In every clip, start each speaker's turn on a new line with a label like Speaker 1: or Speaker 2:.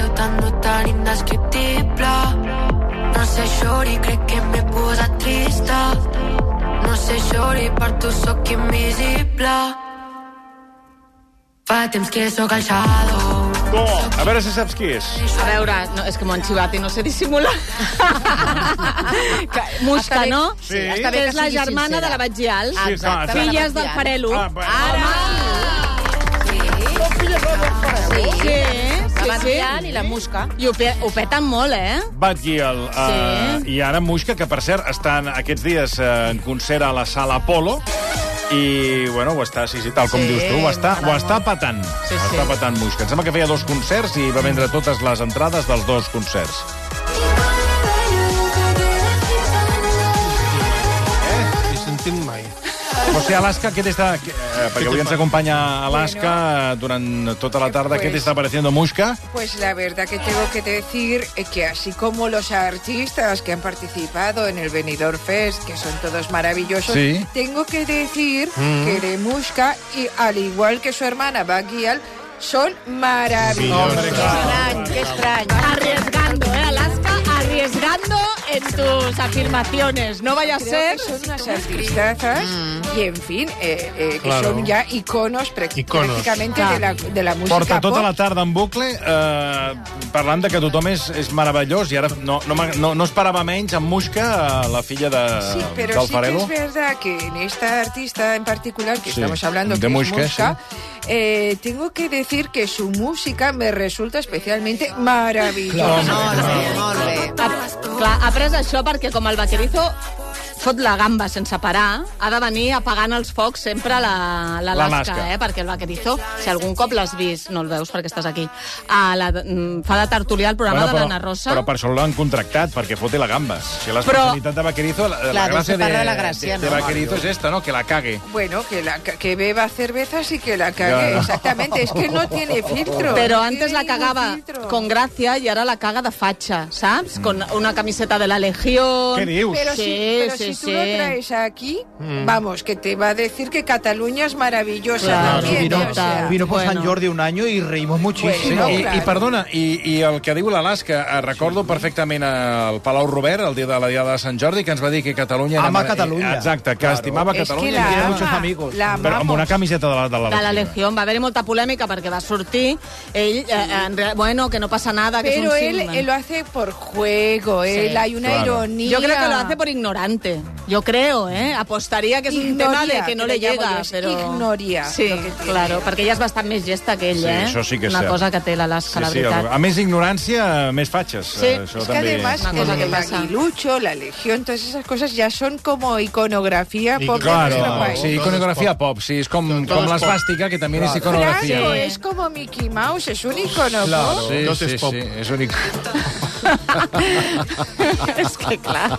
Speaker 1: portando tan linda es que tipla. No sé, Shori, crec que me posa trista. No sé, Shori, per tu sóc invisible. Fa temps que sóc el shadow.
Speaker 2: Go! A veure si saps qui és.
Speaker 3: A veure, no, és que m'ho han xivat i no sé dissimular. Que- Muixca, no?
Speaker 2: Sí. Està
Speaker 3: Que és la
Speaker 4: sigui
Speaker 3: germana
Speaker 4: sincera.
Speaker 3: de la Batgial.
Speaker 2: Sí, clar,
Speaker 3: Exacte.
Speaker 2: sí.
Speaker 3: Filles del Farelo.
Speaker 2: Ah, bé.
Speaker 3: Sí, sí,
Speaker 4: La
Speaker 3: sí.
Speaker 4: Batllán i la Musca.
Speaker 3: I ho, pe ho peten molt, eh?
Speaker 2: Bad Giel uh, i ara Muixca, que per cert estan aquests dies eh, en concert a la sala Apolo i, bueno, ho està, sí, sí, tal com
Speaker 4: Sí,
Speaker 2: dius tu, ho està, ho
Speaker 4: m'agrada
Speaker 2: està patant.
Speaker 4: Sí,
Speaker 2: ho
Speaker 4: sí.
Speaker 2: està patant Muixca. Em sembla que feia dos concerts i va vendre totes les entrades dels dos concerts.
Speaker 5: He sentit mai.
Speaker 2: José Alaska, ¿qué te está...? qué- eh, porque hoy nos acompaña Alaska durante toda la tarde. ¿Qué te
Speaker 6: Pues-
Speaker 2: está pareciendo Mushka?
Speaker 6: Pues la verdad que tengo que decir eh, que así como los artistas que han participado en el Benidorm Fest, que son todos maravillosos,
Speaker 2: Sí.
Speaker 6: tengo que decir que de Mushka, y al igual que su hermana Baguial, son maravillosos.
Speaker 4: Estrany, que estrany.
Speaker 3: Arriesgando, eh, Alaska? Arriesgando en tus afirmaciones. No vaya a
Speaker 6: Creo
Speaker 3: ser... Mm.
Speaker 6: que son unas artistazas y, en fin, eh, eh, que
Speaker 5: Claro.
Speaker 6: son ya iconos, prac-
Speaker 5: Iconos.
Speaker 6: prácticamente de la, de la música
Speaker 2: Porta tota
Speaker 6: pop.
Speaker 2: la tarda en bucle eh, parlant de que tothom és, és meravellós i ara no, no, m'ha- no, no esperava menys amb Mushka, eh, la filla de,
Speaker 6: Sí, pero
Speaker 2: del
Speaker 6: sí que
Speaker 2: Farelo.
Speaker 6: es verdad que en esta artista en particular que
Speaker 2: Sí,
Speaker 6: estamos hablando,
Speaker 2: de
Speaker 6: que es
Speaker 2: Mushka,
Speaker 6: Mushka, eh, tengo que decir que su música me resulta especialmente maravillosa.
Speaker 4: Molt bé, molt bé.
Speaker 3: Ha, clar, ha pres això perquè com el vaquerizo fot la gamba sense parar, ha de venir apagant els focs sempre la- l'Alaska,
Speaker 2: L'Alaska.
Speaker 3: eh? perquè el vaquerizo, si algun cop l'has vist, no el veus perquè estàs aquí, a la, mm, fa de tertulià al programa de l'Anna Rosa.
Speaker 2: però per això l'han contractat, perquè fote la gamba. Si l'especialitat de Vaquerizo, la, la,
Speaker 4: Clar, no
Speaker 2: gràcia
Speaker 4: se
Speaker 2: de,
Speaker 4: parla de la gràcia,
Speaker 2: de, de
Speaker 4: no?
Speaker 2: Vaquerizo és esta, no? que la cague.
Speaker 6: Bueno, que, la, ca- que beba cervezas y que la cague.
Speaker 2: Ya.
Speaker 6: Exactamente, es que no tiene filtro.
Speaker 3: Pero
Speaker 6: no
Speaker 3: antes
Speaker 6: tiene
Speaker 3: la
Speaker 6: ningún
Speaker 3: cagaba
Speaker 6: filtro.
Speaker 3: con gracia y ahora la caga de facha, ¿sabes? Con una camiseta de la Legión.
Speaker 2: Mm. Què dius?
Speaker 6: Pero
Speaker 3: Sí,
Speaker 6: si, pero si
Speaker 3: sí,
Speaker 6: tú
Speaker 3: sí.
Speaker 6: lo traes aquí, vamos, que te va a decir que Cataluña es maravillosa
Speaker 3: Claro,
Speaker 6: también.
Speaker 3: vino-
Speaker 6: o sea.
Speaker 3: vino- Bueno.
Speaker 7: un año y reímos
Speaker 2: Sí,
Speaker 6: Bueno,
Speaker 2: i,
Speaker 6: clar.
Speaker 2: I perdona, i, i el que diu l'Alaska, eh, recordo perfectament al Palau Robert, el dia de la Diada de Sant Jordi, que ens va dir que Catalunya... era
Speaker 7: Ama
Speaker 2: mar-
Speaker 7: Catalunya.
Speaker 2: Exacte, que
Speaker 7: Claro.
Speaker 2: estimava
Speaker 6: Es que
Speaker 2: Catalunya.
Speaker 6: la
Speaker 2: i era
Speaker 6: ama,
Speaker 2: mucho-
Speaker 7: amigos.
Speaker 6: la
Speaker 2: Però amb
Speaker 6: amamos.
Speaker 2: una camiseta de la, de la,
Speaker 3: de la Legión. Va haver molta polèmica perquè va sortir. Ell, eh, en re- bueno, que no passa nada, que
Speaker 6: Pero
Speaker 3: és un
Speaker 6: él,
Speaker 3: Sigma.
Speaker 6: él lo hace por juego, él hay una
Speaker 2: Claro.
Speaker 6: ironía.
Speaker 3: Yo creo que lo hace por ignorante. Yo creo, ¿eh? Apostaría que es un
Speaker 6: Ignoría,
Speaker 3: tema de que no
Speaker 6: que le
Speaker 3: le
Speaker 6: llamo
Speaker 3: llega,
Speaker 6: yo, es
Speaker 3: pero...
Speaker 6: ignoria
Speaker 3: Sí,
Speaker 6: lo que tiene.
Speaker 3: claro, perquè ella és bastant més gesta que ell,
Speaker 2: Sí,
Speaker 3: eh?
Speaker 2: això sí que és
Speaker 3: Una
Speaker 2: cert.
Speaker 3: cosa que té l'Alaska,
Speaker 2: Sí,
Speaker 3: la
Speaker 2: sí,
Speaker 3: veritat.
Speaker 2: a més ignorància, més fatxes.
Speaker 3: Sí,
Speaker 2: Eh, això
Speaker 6: Es que
Speaker 2: també...
Speaker 6: además
Speaker 3: Una cosa
Speaker 6: el,
Speaker 3: que
Speaker 6: el
Speaker 3: pasa.
Speaker 6: aguilucho, la legión, todas esas cosas ya son como iconografía
Speaker 5: Y
Speaker 6: pop de
Speaker 5: claro,
Speaker 6: nuestro
Speaker 2: Claro,
Speaker 6: país.
Speaker 2: sí, iconografía pop, sí, és com,
Speaker 5: Todo
Speaker 2: com
Speaker 5: es pop.
Speaker 2: l'esbàstica, que també és iconografia.
Speaker 6: Franco,
Speaker 3: Sí.
Speaker 6: es como Mickey Mouse, es un icono pop.
Speaker 2: Sí,
Speaker 5: Tot
Speaker 2: sí,
Speaker 5: és pop.
Speaker 2: sí, és únic.
Speaker 3: és que, clar...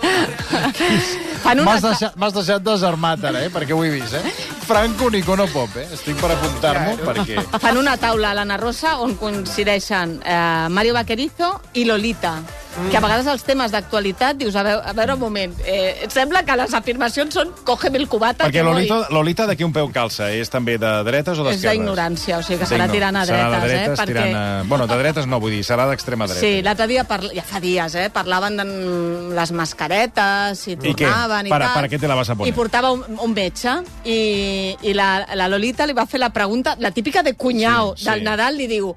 Speaker 3: Fan una...
Speaker 7: M'has deixat, m'has deixat desarmat ara, eh? Perquè ho he vist, eh? Franco, un icono pop, eh? Estic per apuntar-m'ho, perquè...
Speaker 3: Fan una taula a l'Anna Rosa on coincideixen eh, Mario Vaquerizo i Lolita. Mm. Que a vegades els temes d'actualitat dius, a veure, a veure un moment, eh, et sembla que les afirmacions són cógeme el cubata que
Speaker 2: Perquè
Speaker 3: voy".
Speaker 2: Lolita, Lolita d'aquí un peu calça, eh, és també de dretes o
Speaker 3: És
Speaker 2: d'esquerres?
Speaker 3: d'ignorància, o sigui que serà
Speaker 2: D'igno-
Speaker 3: tirant a dretes,
Speaker 2: serà de
Speaker 3: eh?
Speaker 2: dretes
Speaker 3: Perquè...
Speaker 2: tirant a... Bueno, de dretes no, vull dir, serà d'extrema dreta.
Speaker 3: Sí, l'altre dia, parla... ja fa dies, eh, parlaven de mm, les mascaretes, i
Speaker 2: què?
Speaker 3: tornaven i,
Speaker 2: Per a-
Speaker 3: tal.
Speaker 2: per a què te la vas a poner?
Speaker 3: I portava un, un metge, i, i la, la Lolita li va fer la pregunta, la típica de cunyau
Speaker 2: Sí,
Speaker 3: sí, del
Speaker 2: sí.
Speaker 3: Nadal, li diu,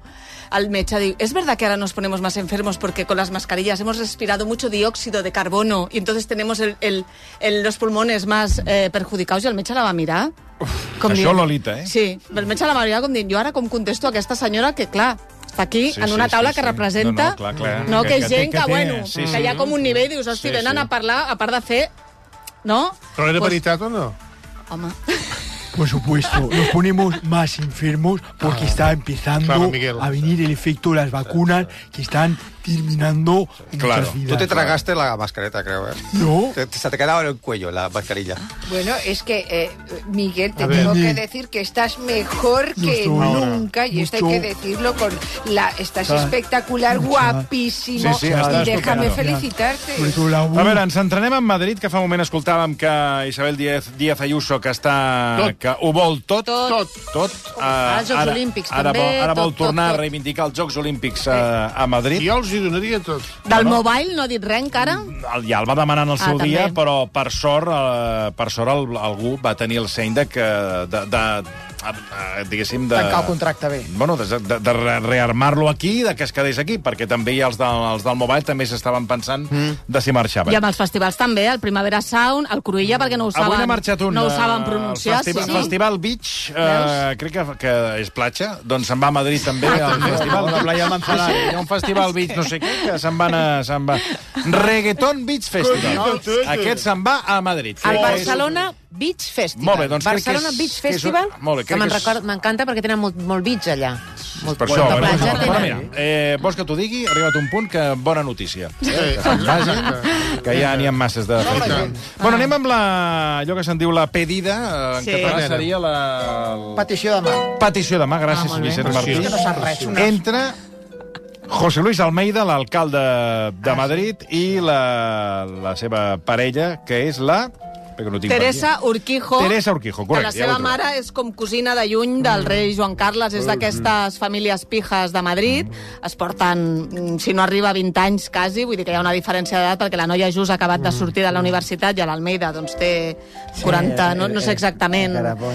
Speaker 3: al metge, diu, ¿es verdad que ahora nos ponemos más enfermos porque con las mascarillas hemos respirado mucho dióxido de carbono y entonces tenemos el, el, el, los pulmones más eh, perjudicados? I el metge la va mirar.
Speaker 2: això
Speaker 3: dient-
Speaker 2: Lolita, eh?
Speaker 3: Sí, el metge la va mirar com dient, jo ara com contesto a aquesta senyora que, clar, està aquí
Speaker 2: Sí,
Speaker 3: en una
Speaker 2: sí,
Speaker 3: taula
Speaker 2: sí,
Speaker 3: que
Speaker 2: sí.
Speaker 3: representa
Speaker 2: No, no, clar, clar.
Speaker 3: no, que,
Speaker 2: Que- que té-
Speaker 3: gent que,
Speaker 2: que té,
Speaker 3: bueno,
Speaker 2: sí,
Speaker 3: que
Speaker 2: sí.
Speaker 3: hi ha com un nivell, dius, hosti,
Speaker 2: Sí,
Speaker 3: venen
Speaker 2: sí.
Speaker 3: a parlar, a part de fer... No?
Speaker 5: Però era
Speaker 3: Pues-
Speaker 5: veritat o no?
Speaker 3: Home,
Speaker 8: Por supuesto, nos ponemos más enfermos porque
Speaker 9: Ah,
Speaker 8: está empezando
Speaker 5: Claro, Miguel.
Speaker 8: a venir el efecto de las vacunas que están terminando en
Speaker 2: Claro.
Speaker 8: nuestras vidas.
Speaker 9: Tú te tragaste la mascareta, creo, ¿eh?
Speaker 8: No,
Speaker 9: Te- te- se te quedaba en el cuello la mascarilla.
Speaker 6: Bueno, es que, eh, Miguel, te
Speaker 5: A
Speaker 6: tengo
Speaker 8: ver.
Speaker 6: que decir que estás mejor
Speaker 8: Yo
Speaker 6: que
Speaker 8: estoy
Speaker 6: nunca, y esto hay que
Speaker 8: mucho-
Speaker 6: decirlo con la... Estás
Speaker 8: Claro.
Speaker 6: espectacular,
Speaker 8: Mucho.
Speaker 6: guapísimo,
Speaker 2: Sí, sí,
Speaker 6: y
Speaker 2: estás
Speaker 6: déjame
Speaker 2: estupendo.
Speaker 6: felicitarte.
Speaker 8: sobre todo la
Speaker 2: A
Speaker 8: U.
Speaker 2: veure, ens entrenem en Madrid, que fa un moment escoltàvem que Isabel Díaz, Díaz Ayuso, que està...
Speaker 5: Tot
Speaker 2: que ho vol tot.
Speaker 4: Tot.
Speaker 2: Tot. tot eh,
Speaker 3: Ah,
Speaker 4: Els Jocs Olímpics,
Speaker 2: ara
Speaker 4: també,
Speaker 2: Vol, ara
Speaker 4: tot,
Speaker 2: vol
Speaker 4: tot,
Speaker 2: tornar
Speaker 4: tot.
Speaker 2: a reivindicar els Jocs Olímpics eh, a Madrid.
Speaker 5: Jo els hi donaria tot.
Speaker 3: Del mobile no ha dit res encara?
Speaker 5: Mm,
Speaker 2: El, ja el va demanar en el
Speaker 3: Ah,
Speaker 2: seu
Speaker 3: també.
Speaker 2: dia, però per sort, eh, per sort el, algú va tenir el seny de que... De, de, de, eh, diguéssim, de...
Speaker 7: Tancar el contracte bé.
Speaker 2: Bueno, de, de, de re- rearmar-lo aquí i de que es quedés aquí, perquè també hi ha els, de, els del Mobile també s'estaven pensant mm. de si marxaven.
Speaker 3: I amb els festivals també, el Primavera Sound, el Cruïlla, perquè no ho saben,
Speaker 2: Avui n'ha marxat un.
Speaker 3: no ho
Speaker 2: eh,
Speaker 3: saben pronunciar.
Speaker 2: El festival,
Speaker 3: sí.
Speaker 2: festival Beach, eh, crec que, que és platja, doncs se'n va a Madrid també, al festival de Playa Manzanares. Hi ha un festival Beach, no sé què, que se'n van a... Se'n va. Reggaeton Beach Festival. Aquest se'n va a Madrid.
Speaker 4: Al
Speaker 2: Crec que és-
Speaker 4: Barcelona Beach Festival.
Speaker 2: Molt bé, doncs crec que
Speaker 4: Barcelona
Speaker 2: és-
Speaker 4: Beach
Speaker 2: que és un-
Speaker 4: Festival,
Speaker 2: molt bé,
Speaker 4: que
Speaker 2: crec
Speaker 4: me'n
Speaker 2: que és-
Speaker 4: record- m'encanta perquè tenen molt, molt beach allà. Molt,
Speaker 2: Per això,
Speaker 4: molta
Speaker 2: bueno,
Speaker 4: platja
Speaker 2: però mira,
Speaker 4: tenen.
Speaker 2: eh, vols que t'ho digui? Ha arribat un punt que bona notícia. Eh, que ja n'hi ha masses de feina. Bueno, anem amb la, allò que se'n diu la pedida, eh, en
Speaker 3: Ah. Sí.
Speaker 2: català seria la...
Speaker 7: Petició de mà.
Speaker 2: Petició de mà, gràcies,
Speaker 7: Ah, molt bé.
Speaker 2: Vicent Martí.
Speaker 7: És que no sap res.
Speaker 2: Entra José Luis Almeida, l'alcalde
Speaker 4: Ah,
Speaker 2: de Madrid, i la, la seva parella, que és la... Perquè no tinc per
Speaker 3: Teresa Urquijo.
Speaker 2: aquí. Teresa Urquijo,
Speaker 3: que
Speaker 2: correcte.
Speaker 3: la seva
Speaker 2: ho he trobat.
Speaker 3: mare és com cosina de lluny del
Speaker 7: Mm.
Speaker 3: rei Joan Carles, és d'aquestes famílies pijes de Madrid, es porten, mm, si no arriba a 20 anys quasi, vull dir que hi ha una diferència d'edat, perquè la noia just ha acabat
Speaker 7: Mm.
Speaker 3: de sortir de la universitat i a l'Almeida doncs té 40, no, no sé exactament
Speaker 7: eh, encara,
Speaker 3: eh,
Speaker 7: bo.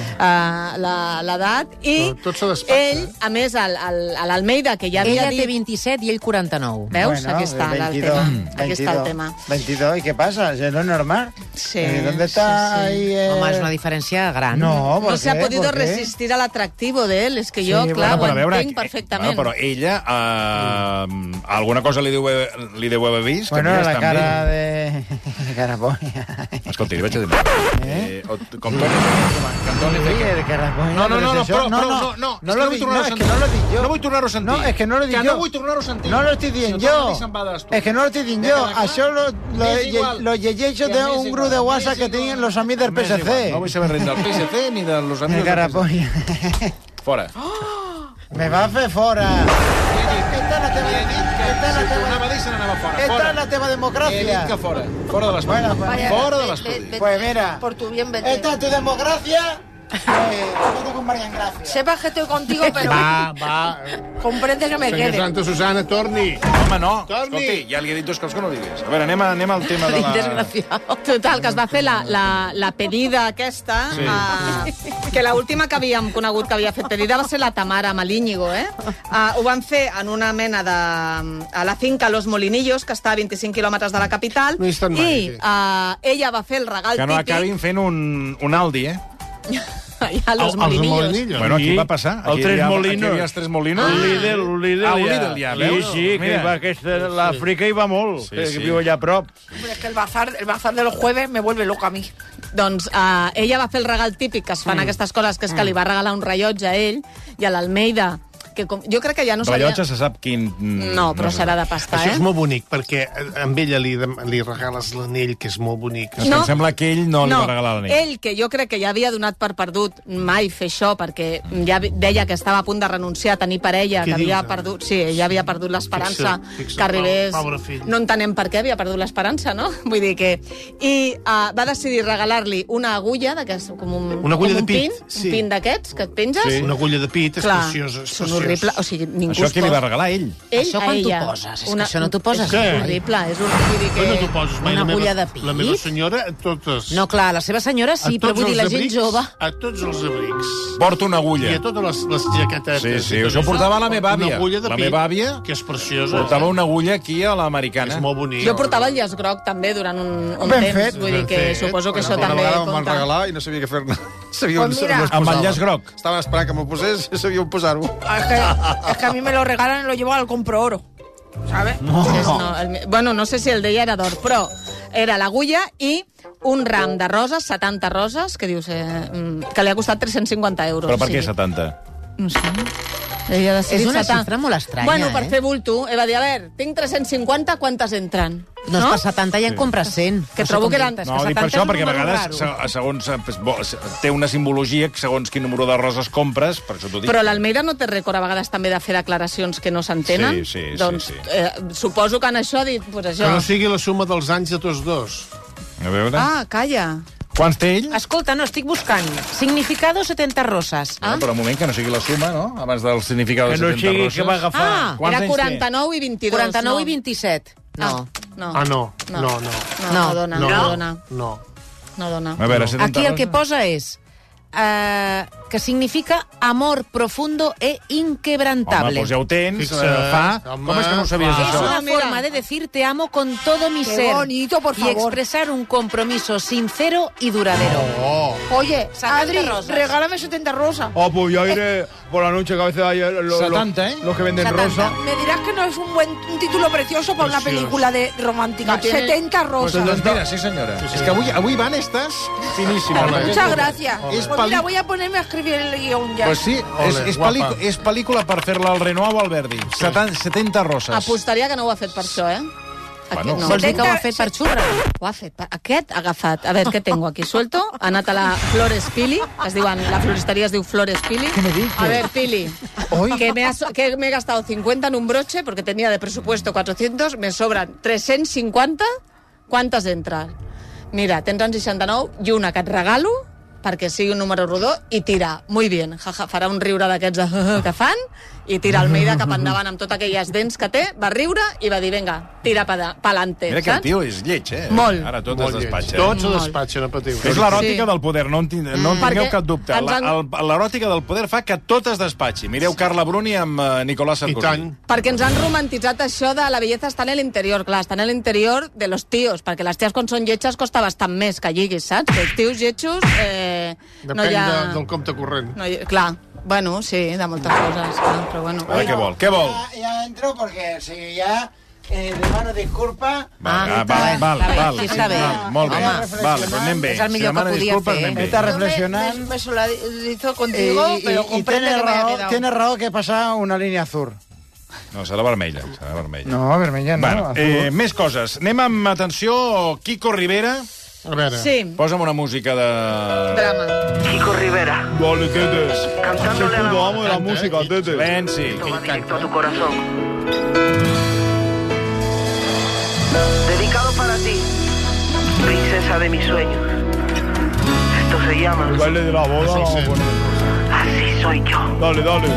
Speaker 3: la- l'edat, i
Speaker 5: Tot- tot se despacha,
Speaker 3: ell,
Speaker 5: eh?
Speaker 3: a més, al- al- a l'Almeida, que ja havia
Speaker 4: Ella té
Speaker 3: dit...
Speaker 4: 27 i ell 49.
Speaker 3: Veus? Aquí està el tema. Aquí està el tema.
Speaker 7: 22, ¿y qué pasa? ¿Eso no es normal?
Speaker 3: Sí,
Speaker 7: Eh, ¿Dónde está
Speaker 4: Sí.
Speaker 7: ahí? eh?
Speaker 4: Home, és una diferència gran.
Speaker 7: No, ¿por
Speaker 3: No se ha
Speaker 7: qué?
Speaker 3: podido
Speaker 7: ¿Por qué?
Speaker 3: resistir al atractivo de él, és que jo,
Speaker 7: Sí,
Speaker 3: clar,
Speaker 7: bueno,
Speaker 3: ho entenc
Speaker 2: eh,
Speaker 3: perfectament.
Speaker 2: Bueno, però ella, eh, alguna cosa li deu, haver- li deu haver vist. que
Speaker 7: Bueno,
Speaker 2: mira,
Speaker 7: la
Speaker 2: estan
Speaker 7: cara
Speaker 2: bé.
Speaker 7: de... Carapolla.
Speaker 2: Escolta, li vaig a dir... Eh? Eh, o- com torni, que em torni a fer
Speaker 7: Sí,
Speaker 2: que-
Speaker 7: el Carapolla.
Speaker 2: No, no, no, no, però,
Speaker 7: pero es eso.
Speaker 2: però, no, no,
Speaker 7: no
Speaker 2: és
Speaker 7: lo
Speaker 2: que no vull
Speaker 7: dic,
Speaker 2: tornar-ho
Speaker 7: no,
Speaker 2: a
Speaker 7: es que
Speaker 2: sentir.
Speaker 7: no lo dic jo.
Speaker 2: No vull tornar-ho a sentir.
Speaker 7: No, es que no lo dic
Speaker 2: Que
Speaker 7: jo.
Speaker 2: no vull tornar-ho a sentir.
Speaker 7: No lo estoy diciendo
Speaker 2: Si el torno a dir,
Speaker 7: yo.
Speaker 2: se'n va d'estudi.
Speaker 7: Es que no lo estoy diciendo
Speaker 2: Ja
Speaker 7: yo.
Speaker 2: queda clar.
Speaker 7: Això lo, lo,
Speaker 2: M'és igual.
Speaker 7: los yeyechos de
Speaker 2: Ja m'és
Speaker 7: un
Speaker 2: igual.
Speaker 7: grup de WhatsApp
Speaker 2: M'és
Speaker 7: que
Speaker 2: igual.
Speaker 7: tienen los amigos del
Speaker 2: M'és
Speaker 7: PSC.
Speaker 2: igual. No vull saber res del PSC ni de los
Speaker 7: El
Speaker 2: amigos del PSC.
Speaker 7: Carapolla.
Speaker 2: Fora.
Speaker 7: Me va a fer fora. Esta no te va... Esta no
Speaker 2: Si
Speaker 7: te va...
Speaker 2: tornava a dir, se n'anava fora.
Speaker 7: Esta
Speaker 2: Fora.
Speaker 7: es la tema
Speaker 2: He dit que
Speaker 7: democracia.
Speaker 2: fora. Fora de l'estudi.
Speaker 7: Bueno, bueno.
Speaker 2: Fora de l'estudi.
Speaker 7: Pues mira,
Speaker 4: Por tu bien
Speaker 7: esta es tu democracia. Eh, vete con Marian Gracia.
Speaker 4: Sepas que estoy contigo, pero
Speaker 5: Va, va.
Speaker 4: comprendes que me
Speaker 5: Senyor
Speaker 4: quede.
Speaker 5: Santa Susana, torni.
Speaker 2: Home, no.
Speaker 5: Torni.
Speaker 2: Escolti, ja li he dit dues coses que no digués. A veure, anem, a, anem al tema de la...
Speaker 4: Desgraciado.
Speaker 3: Total, que es va fer la, la, la pedida aquesta, sí. uh, que l'última que havíem conegut que havia fet pedida va ser la Tamara amb l'Íñigo, eh? Uh, ho van fer en una mena de... a la finca Los Molinillos, que està a 25 quilòmetres de la capital,
Speaker 5: No és tan
Speaker 3: i
Speaker 5: maco, sí.
Speaker 3: uh, ella va fer el regal
Speaker 2: Que no
Speaker 3: típic...
Speaker 2: acabin fent un, un Aldi, eh?
Speaker 3: Allà a Los Molinillos.
Speaker 2: Bueno, aquí va passar.
Speaker 10: El
Speaker 2: Aquí
Speaker 10: Tres
Speaker 2: hi ha- Aquí
Speaker 10: Molinos.
Speaker 2: hi havia els Tres Molinos.
Speaker 10: Un Lidl, un Lidl,
Speaker 2: Ah, un Lidl ja, veus?
Speaker 10: Sí, sí, que
Speaker 2: Mira.
Speaker 10: hi va aquesta, l'Àfrica hi va molt,
Speaker 2: Sí,
Speaker 10: sí,
Speaker 2: sí.
Speaker 10: que viu allà a prop.
Speaker 11: Hombre, es que el bazar, el bazar de los jueves me vuelve loca a mí.
Speaker 3: Doncs eh, ella va fer el regal típic que es fan mm. aquestes coses, que és que li va regalar un rellotge a ell i a l'Almeida, que com... jo crec que ja no sabia...
Speaker 2: Rellotge se sap quin...
Speaker 3: No, però
Speaker 2: se
Speaker 3: serà
Speaker 2: sap.
Speaker 3: de pasta,
Speaker 5: Això
Speaker 3: eh?
Speaker 5: és molt bonic, perquè eh, amb ella li, dem- li regales l'anell, que és molt bonic.
Speaker 2: És que em sembla que ell no li va regalar l'anell.
Speaker 3: Ell, que jo crec que ja havia donat per perdut mai fer això, perquè ja vi- deia que estava a punt de renunciar a tenir parella,
Speaker 5: Què
Speaker 3: que havia
Speaker 5: dius, ara?
Speaker 3: perdut... Sí, ella havia perdut l'esperança
Speaker 5: Fixa't, fixa't,
Speaker 3: que arribés...
Speaker 5: pobre fill.
Speaker 3: No entenem per què havia perdut l'esperança, no? Vull dir que... I uh, va decidir regalar-li una agulla, d'aquest- com un,
Speaker 5: Una agulla
Speaker 3: com
Speaker 5: de
Speaker 3: un
Speaker 5: pit,
Speaker 3: pin,
Speaker 5: sí.
Speaker 3: un pin d'aquests que et penges.
Speaker 5: Sí. Una agulla de pit, és
Speaker 3: Clar,
Speaker 5: preciosa. És
Speaker 3: són
Speaker 5: preciosa.
Speaker 3: horribles. O sigui, ningú
Speaker 2: Això
Speaker 3: es
Speaker 2: que li
Speaker 3: pot-
Speaker 2: va regalar ell.
Speaker 3: Ell
Speaker 4: Això
Speaker 3: a
Speaker 4: quan t'ho
Speaker 3: ella.
Speaker 4: poses? És que això no t'ho poses
Speaker 3: És
Speaker 5: mai.
Speaker 3: horrible, és horrible. Que...
Speaker 5: Oi, no t'ho poses mai.
Speaker 4: Una
Speaker 5: la meva-
Speaker 4: agulla de pit?
Speaker 5: La meva senyora, a totes.
Speaker 4: No, clar, la seva senyora
Speaker 5: a
Speaker 4: sí, però
Speaker 5: tots
Speaker 4: vull dir, la
Speaker 5: els
Speaker 4: gent
Speaker 5: abrics,
Speaker 4: jove...
Speaker 5: A tots els abrics.
Speaker 2: Porta una
Speaker 5: I
Speaker 2: agulla.
Speaker 5: a totes les, les jaquetetes.
Speaker 2: Sí, sí,
Speaker 5: I tot
Speaker 2: això ho portava la meva àvia.
Speaker 5: Una agulla de
Speaker 2: La
Speaker 5: pit,
Speaker 2: meva àvia
Speaker 5: que és preciosa. eh?
Speaker 2: Portava una agulla aquí a l'americana.
Speaker 5: És molt bonic.
Speaker 3: Jo portava el llaç groc també durant un, un
Speaker 7: Ben
Speaker 3: temps,
Speaker 7: fet,
Speaker 3: vull dir
Speaker 5: ben
Speaker 3: que
Speaker 5: fet.
Speaker 3: suposo que això
Speaker 9: Una
Speaker 3: també
Speaker 9: vegada em van
Speaker 3: compta.
Speaker 9: regalar i no sabia què fer-ne. Sabia on,
Speaker 11: Pues mira.
Speaker 9: on es
Speaker 2: Amb el
Speaker 9: posava.
Speaker 2: llaç groc.
Speaker 3: Doncs
Speaker 9: Estava esperant que m'ho posés i sabia on posar-ho.
Speaker 11: Es que, es que a mí me lo regalan y lo llevo al compro oro. ¿Sabes?
Speaker 3: Entonces, no, el, mi- bueno, no sé si el d'ella era d'or, però era l'agulla i un ram de roses, 70 roses, que dius eh, mm, que li ha costat 350 euros.
Speaker 2: Però per
Speaker 3: o
Speaker 2: què
Speaker 3: sigui,
Speaker 2: 70?
Speaker 3: No sé. Ella ha decidit
Speaker 4: És una
Speaker 3: 70.
Speaker 4: xifra molt estranya,
Speaker 3: Bueno, per
Speaker 4: eh?
Speaker 3: fer bulto, eh, va dir, a veure, tinc 350, quantes entren?
Speaker 4: No, és per 70 i en compres 100.
Speaker 3: Que
Speaker 11: Pues
Speaker 4: No sé
Speaker 3: trobo
Speaker 4: com
Speaker 3: que
Speaker 4: dir-te,
Speaker 3: eren-
Speaker 4: és
Speaker 2: No,
Speaker 4: 70
Speaker 2: dic per
Speaker 4: és
Speaker 2: això,
Speaker 4: un
Speaker 2: perquè a
Speaker 4: número
Speaker 2: vegades
Speaker 4: raro.
Speaker 2: se- segons, eh, pues, bo, se- té una simbologia que segons quin número de roses compres, per això t'ho dic.
Speaker 3: Però l'Almeida no té rècord a vegades també de fer declaracions que no s'entenen?
Speaker 2: Sí, sí, sí,
Speaker 3: doncs,
Speaker 2: sí.
Speaker 3: Eh, suposo que en això ha dit... Pues,
Speaker 5: Que
Speaker 3: això.
Speaker 5: no sigui la suma dels anys de tots dos.
Speaker 2: A veure...
Speaker 3: Ah, calla.
Speaker 2: Quants té ell?
Speaker 4: Escolta, no, estic buscant. Significado 70 rosas.
Speaker 2: Ah? Però un moment, que no sigui la suma, no? Abans del significat de
Speaker 10: Que no
Speaker 2: 70
Speaker 10: sigui
Speaker 2: roses.
Speaker 10: que va agafar.
Speaker 4: Ah,
Speaker 2: Quants
Speaker 3: Era
Speaker 2: anys té?
Speaker 3: 49 i 22.
Speaker 4: 49
Speaker 3: no.
Speaker 4: i 27. No.
Speaker 3: No,
Speaker 5: Ah, no.
Speaker 3: No.
Speaker 5: No, no.
Speaker 3: no, no, dona, no,
Speaker 5: No.
Speaker 3: dona,
Speaker 5: No.
Speaker 3: no dona.
Speaker 2: A veure, 70
Speaker 4: Aquí el que
Speaker 2: roses.
Speaker 4: posa és... Eh, que significa amor profundo e
Speaker 2: Home,
Speaker 4: inquebrantable.
Speaker 2: doncs ja ho tens.
Speaker 5: Fixa,
Speaker 2: eh, fa...
Speaker 5: home,
Speaker 2: Com és que no ho sabies,
Speaker 5: fa.
Speaker 4: Es
Speaker 2: això?
Speaker 4: una
Speaker 3: Ah, mira.
Speaker 4: forma de decir te amo con todo mi
Speaker 11: Qué
Speaker 4: ser.
Speaker 11: bonito, por
Speaker 4: Y
Speaker 11: favor.
Speaker 4: expresar un compromiso sincero y duradero.
Speaker 11: Oye,
Speaker 4: 70
Speaker 11: Adri,
Speaker 4: rosas.
Speaker 11: regálame 70 rosas.
Speaker 10: Oh, pues yo iré por la noche que a veces hay eh, los,
Speaker 2: 70, ¿eh?
Speaker 10: los, los que venden
Speaker 11: 70.
Speaker 10: rosa.
Speaker 11: Me dirás que no es un buen un título precioso para una película de romántica.
Speaker 3: No tiene-
Speaker 11: 70
Speaker 2: Doncs,
Speaker 11: rosas.
Speaker 2: doncs mira, sí senyora.
Speaker 5: sí.
Speaker 2: És que avui, avui van eh? estàs finíssima.
Speaker 5: Ole.
Speaker 11: Muchas gracias.
Speaker 2: Es
Speaker 11: Pues mira,
Speaker 2: pali-
Speaker 11: voy a ponerme a escribir el guión ya.
Speaker 2: Pues sí, és,
Speaker 5: Ole,
Speaker 2: és,
Speaker 5: guapa.
Speaker 2: pel·lícula, és pel·lícula per fer-la al Renoir o al Verdi. 70, 70 roses.
Speaker 4: Ah,
Speaker 3: Apostaria que no ho ha fet per això, eh? Aquest
Speaker 2: Bueno.
Speaker 3: no.
Speaker 4: Vols dir que ho ha fet per xurra?
Speaker 3: Ho ha fet. per- Aquest ha agafat. A veure, què tengo aquí? Suelto. Ha anat a la Flores Pili. Es diuen, la floristeria es diu Flores Pili.
Speaker 2: Què me dices?
Speaker 3: A ver, Pili. Que me, has- que me he gastado 50 en un broche porque tenía de presupuesto 400, me sobran 350. ¿Cuántas entran? Mira, tendrán 69 i una que et regalo perquè sigui un número rodó i tira. Muy bien. Ja, ja, farà un riure d'aquests de que fan i tira al Meida cap endavant amb totes aquelles dents que té, va riure i va dir, venga, tira pa- pa'lante.
Speaker 2: Mira que el
Speaker 3: saps?
Speaker 2: tio és lleig, eh?
Speaker 3: Molt.
Speaker 2: Ara tot
Speaker 5: Molt
Speaker 2: es
Speaker 5: lleig.
Speaker 2: despatxa. eh?
Speaker 5: Tots ho
Speaker 3: Molt.
Speaker 5: despatxen, no patiu.
Speaker 2: És l'eròtica
Speaker 3: Sí.
Speaker 2: del poder, no en, tin- no en
Speaker 3: Mm.
Speaker 2: tingueu
Speaker 3: Perquè
Speaker 2: cap dubte.
Speaker 3: ens
Speaker 2: La-
Speaker 3: han-
Speaker 2: el- L'eròtica del poder fa que tot es despatxi. Mireu Carla Bruni amb eh, Nicolás
Speaker 5: I
Speaker 2: Sarkozy.
Speaker 5: tant.
Speaker 3: Perquè ens han romantitzat això de la belleza està en l'interior, clar, està en l'interior de los tíos, perquè les ties quan són lletges costa bastant més que lliguis, saps? Que els tios lletjos eh,
Speaker 5: Depèn
Speaker 3: no hi ha...
Speaker 5: de, del compte corrent.
Speaker 3: No hi... Clar, bueno, sí, de moltes coses, clar, però bueno.
Speaker 2: Ara què vol? Què vol?
Speaker 7: Ya, ya entro porque si ya eh, demano disculpa...
Speaker 2: Va,
Speaker 4: Ah,
Speaker 2: ah, val,
Speaker 4: està
Speaker 2: val,
Speaker 4: bé,
Speaker 2: val,
Speaker 4: sí, està bé.
Speaker 2: val, molt bé.
Speaker 7: Home,
Speaker 2: vale, però anem bé.
Speaker 4: és el millor
Speaker 2: si demana
Speaker 4: que podia
Speaker 2: disculpes,
Speaker 4: fer.
Speaker 2: Anem bé.
Speaker 7: Está
Speaker 11: Yo me- Me,
Speaker 7: reflexionando...
Speaker 11: me solidarizo
Speaker 7: Y,
Speaker 3: Eh,
Speaker 11: contigo,
Speaker 7: y-
Speaker 11: pero
Speaker 7: y
Speaker 11: comprende
Speaker 7: tiene,
Speaker 11: que me haya
Speaker 7: raro,
Speaker 11: quedado.
Speaker 7: tiene raro que pasa una línea azul.
Speaker 2: No, serà vermella, serà vermella.
Speaker 7: No, vermella no,
Speaker 2: Bueno,
Speaker 7: azul.
Speaker 2: eh, més coses. Anem amb atenció, Kiko Rivera.
Speaker 5: A veure,
Speaker 3: Sí,
Speaker 2: Posa'm una música de...
Speaker 3: drama.
Speaker 1: Kiko Rivera,
Speaker 10: Dale, tetes. Soy tu amo de la música,
Speaker 7: eh.
Speaker 10: tetes.
Speaker 2: Silenci.
Speaker 1: va directo a tu corazón. Dedicado para ti, princesa de mis sueños. Esto se
Speaker 10: El
Speaker 1: llama
Speaker 10: baile de la boda.
Speaker 5: Eso sí.
Speaker 10: vamos a poner.
Speaker 1: Así soy yo.
Speaker 10: Dale, dale.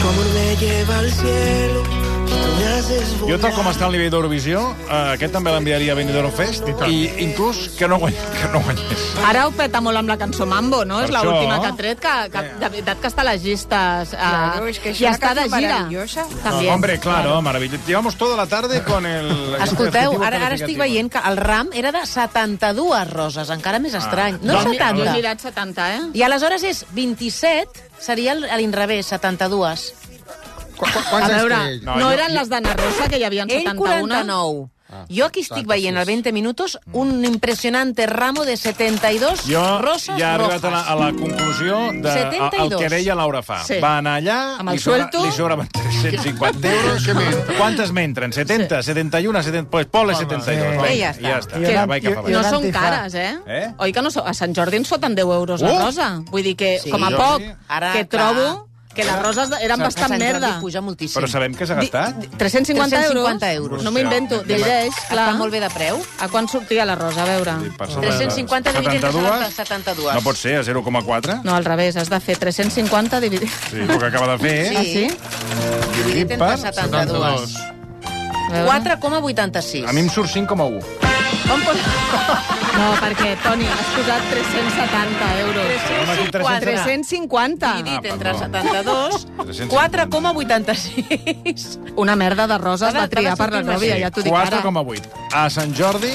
Speaker 1: Tu amor me lleva al cielo, tú me haces
Speaker 2: Jo, tal com està el nivell d'Eurovisió, eh, aquest també l'enviaria a Benidorm Fest,
Speaker 5: I tant.
Speaker 2: i inclús que no guany, que no guanyés.
Speaker 3: Ara ho peta molt amb la cançó Mambo, no?
Speaker 2: Per
Speaker 3: és
Speaker 2: això.
Speaker 3: l'última que ha tret, que, que de veritat que està a les llistes. Eh,
Speaker 11: Eh. Claro, es que és
Speaker 3: I
Speaker 11: una
Speaker 3: està de
Speaker 11: cançó
Speaker 3: gira.
Speaker 11: maravillosa.
Speaker 3: També.
Speaker 2: Hombre, claro, maravilloso. Llevamos toda la tarde con el...
Speaker 4: Escolteu,
Speaker 2: adjetivo
Speaker 4: ara, ara estic
Speaker 2: qualificativo.
Speaker 4: veient que el ram era de 72 roses, encara més estrany. No
Speaker 3: Jo he mi- Jo he
Speaker 4: 70.
Speaker 3: mirat 70, eh?
Speaker 4: I aleshores és 27, seria el- a l'inrevés, 72.
Speaker 9: Qu -qu
Speaker 3: A
Speaker 9: Quants anys
Speaker 3: veure,
Speaker 9: té ell?
Speaker 3: no, no eren les d'Anna Rosa, que hi havia en
Speaker 4: Ell
Speaker 3: 71?
Speaker 4: 49.
Speaker 2: Ah,
Speaker 4: Jo aquí estic veient al 20 minutos un impressionante ramo de 72
Speaker 2: Mm. Jo
Speaker 4: roses
Speaker 2: ja he arribat a la,
Speaker 4: rojas.
Speaker 2: a la conclusió de, a, el
Speaker 4: 72.
Speaker 2: que deia Laura fa.
Speaker 3: Sí.
Speaker 2: Va anar allà,
Speaker 3: Amb el
Speaker 2: li, sobra,
Speaker 3: suelto.
Speaker 2: li sobraven 350 euros. Quantes m'entren? 70, 71, 70... Pues pole 72.
Speaker 7: sí.
Speaker 2: Vinga,
Speaker 11: I ja està.
Speaker 2: Ja està.
Speaker 7: I
Speaker 2: Ja
Speaker 7: ara-
Speaker 2: vaig cap
Speaker 7: i- i-
Speaker 2: avall.
Speaker 3: No són
Speaker 7: Antifa.
Speaker 3: cares, eh?
Speaker 2: Eh?
Speaker 3: Oi que no són... A Sant Jordi ens foten 10 euros la
Speaker 2: Uh!
Speaker 3: rosa. Vull dir que,
Speaker 4: Sí.
Speaker 3: com a
Speaker 4: Jo
Speaker 3: poc,
Speaker 2: sí.
Speaker 4: Ara,
Speaker 3: que
Speaker 4: clar.
Speaker 3: trobo que les roses eren
Speaker 4: A Sant
Speaker 3: bastant
Speaker 4: Jordi
Speaker 3: merda.
Speaker 4: puja moltíssim.
Speaker 2: Però sabem que s'ha
Speaker 3: Di-
Speaker 2: gastat?
Speaker 3: 350 euros?
Speaker 4: 350 euros.
Speaker 3: No m'ho invento.
Speaker 2: Hòstia.
Speaker 3: Divideix, clar.
Speaker 4: Està molt bé de preu.
Speaker 3: A quan sortia la rosa? A veure.
Speaker 2: Per sobre de-
Speaker 4: 350 dividit entre
Speaker 2: 72?
Speaker 4: 72.
Speaker 2: No pot ser, a 0,4?
Speaker 3: No, al revés. Has de fer 350 dividit...
Speaker 2: Sí, el que acaba de fer, eh?
Speaker 3: Ah, sí?
Speaker 4: Dividit entre
Speaker 2: per
Speaker 4: 72.
Speaker 3: 4?
Speaker 4: 4,86.
Speaker 2: A mi em surt 5,1.
Speaker 4: Com pot...
Speaker 3: No, perquè, Toni, has posat 370 euros.
Speaker 2: Home, aquí 300.
Speaker 3: 350.
Speaker 4: Dividit
Speaker 2: Ah,
Speaker 4: entre
Speaker 2: perdó.
Speaker 4: 72,
Speaker 2: 350.
Speaker 4: 4,86.
Speaker 3: Una merda de roses
Speaker 4: T'ha de-
Speaker 3: va triar
Speaker 4: t'ha
Speaker 3: per
Speaker 4: de
Speaker 3: la
Speaker 4: sortir
Speaker 3: nòvia,
Speaker 4: més.
Speaker 3: ja t'ho dic ara.
Speaker 2: 4,8. A Sant Jordi...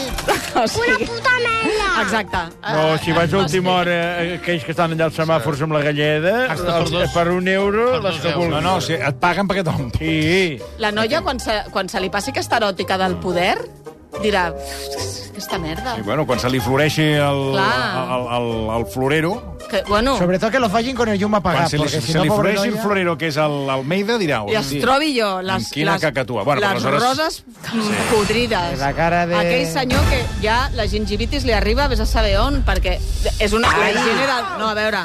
Speaker 3: O sigui... Una puta merda! Exacte.
Speaker 10: No, si vaig a última hora, eh, aquells que estan allà al semàfor amb la galleda, els, per un euro, les que
Speaker 2: No,
Speaker 10: vulguis.
Speaker 2: no, o sigui, et paguen perquè t'ho
Speaker 10: Sí.
Speaker 3: La noia, quan se, quan se li passi aquesta eròtica del poder, dirà... "Pff, Aquesta merda.
Speaker 2: I, bueno, quan se li floreixi el,
Speaker 3: Clar.
Speaker 2: el, el, el florero,
Speaker 3: Que, bueno,
Speaker 7: Sobre todo que lo fallen con el Yuma
Speaker 2: quan
Speaker 7: apagado,
Speaker 2: se li,
Speaker 7: porque si
Speaker 2: se
Speaker 7: no,
Speaker 2: li
Speaker 7: pobre
Speaker 2: floreixi el
Speaker 7: noia-
Speaker 2: florero, que és el- l'Almeida, dirà...
Speaker 3: i es trobi jo les,
Speaker 2: Amb quina
Speaker 3: les,
Speaker 2: cacatua. Bueno, però
Speaker 3: les
Speaker 2: aleshores-
Speaker 3: roses sí. podrides.
Speaker 7: La cara de-
Speaker 3: Aquell senyor que ja la gingivitis li arriba, vés a saber on, perquè és una... La higiene de... No, a veure,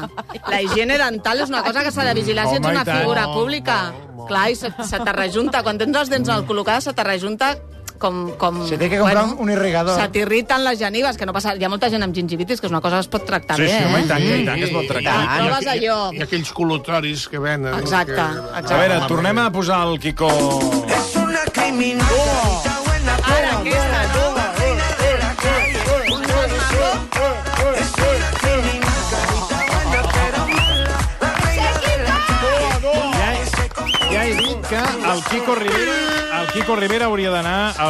Speaker 3: la higiene dental és una cosa que s'ha de vigilar si ets
Speaker 2: Home,
Speaker 3: una
Speaker 2: i tant.
Speaker 3: figura pública. Clar, i se, se te rejunta. Quan tens les dents mal col·locades, se te rejunta com... com
Speaker 7: Se té que comprar un- un irrigador.
Speaker 3: Se t'irriten les genives, que no passa... Hi ha molta gent amb gingivitis, que és una cosa que es pot tractar
Speaker 5: Sí,
Speaker 3: bé,
Speaker 5: sí,
Speaker 3: eh?
Speaker 5: home, i tant, i tant, que es pot
Speaker 3: I tant,
Speaker 5: tractar.
Speaker 3: proves allò.
Speaker 5: I aquells col·lotoris que venen.
Speaker 3: Exacte,
Speaker 2: A veure, tornem a posar el Kiko...
Speaker 1: Es una criminal. buena, buena, buena, buena, buena, buena, buena. Es una criminal. Buena, pero mala. La reina de la
Speaker 2: Ja he dit que el Kiko Rivera, el Kiko Rivera hauria d'anar a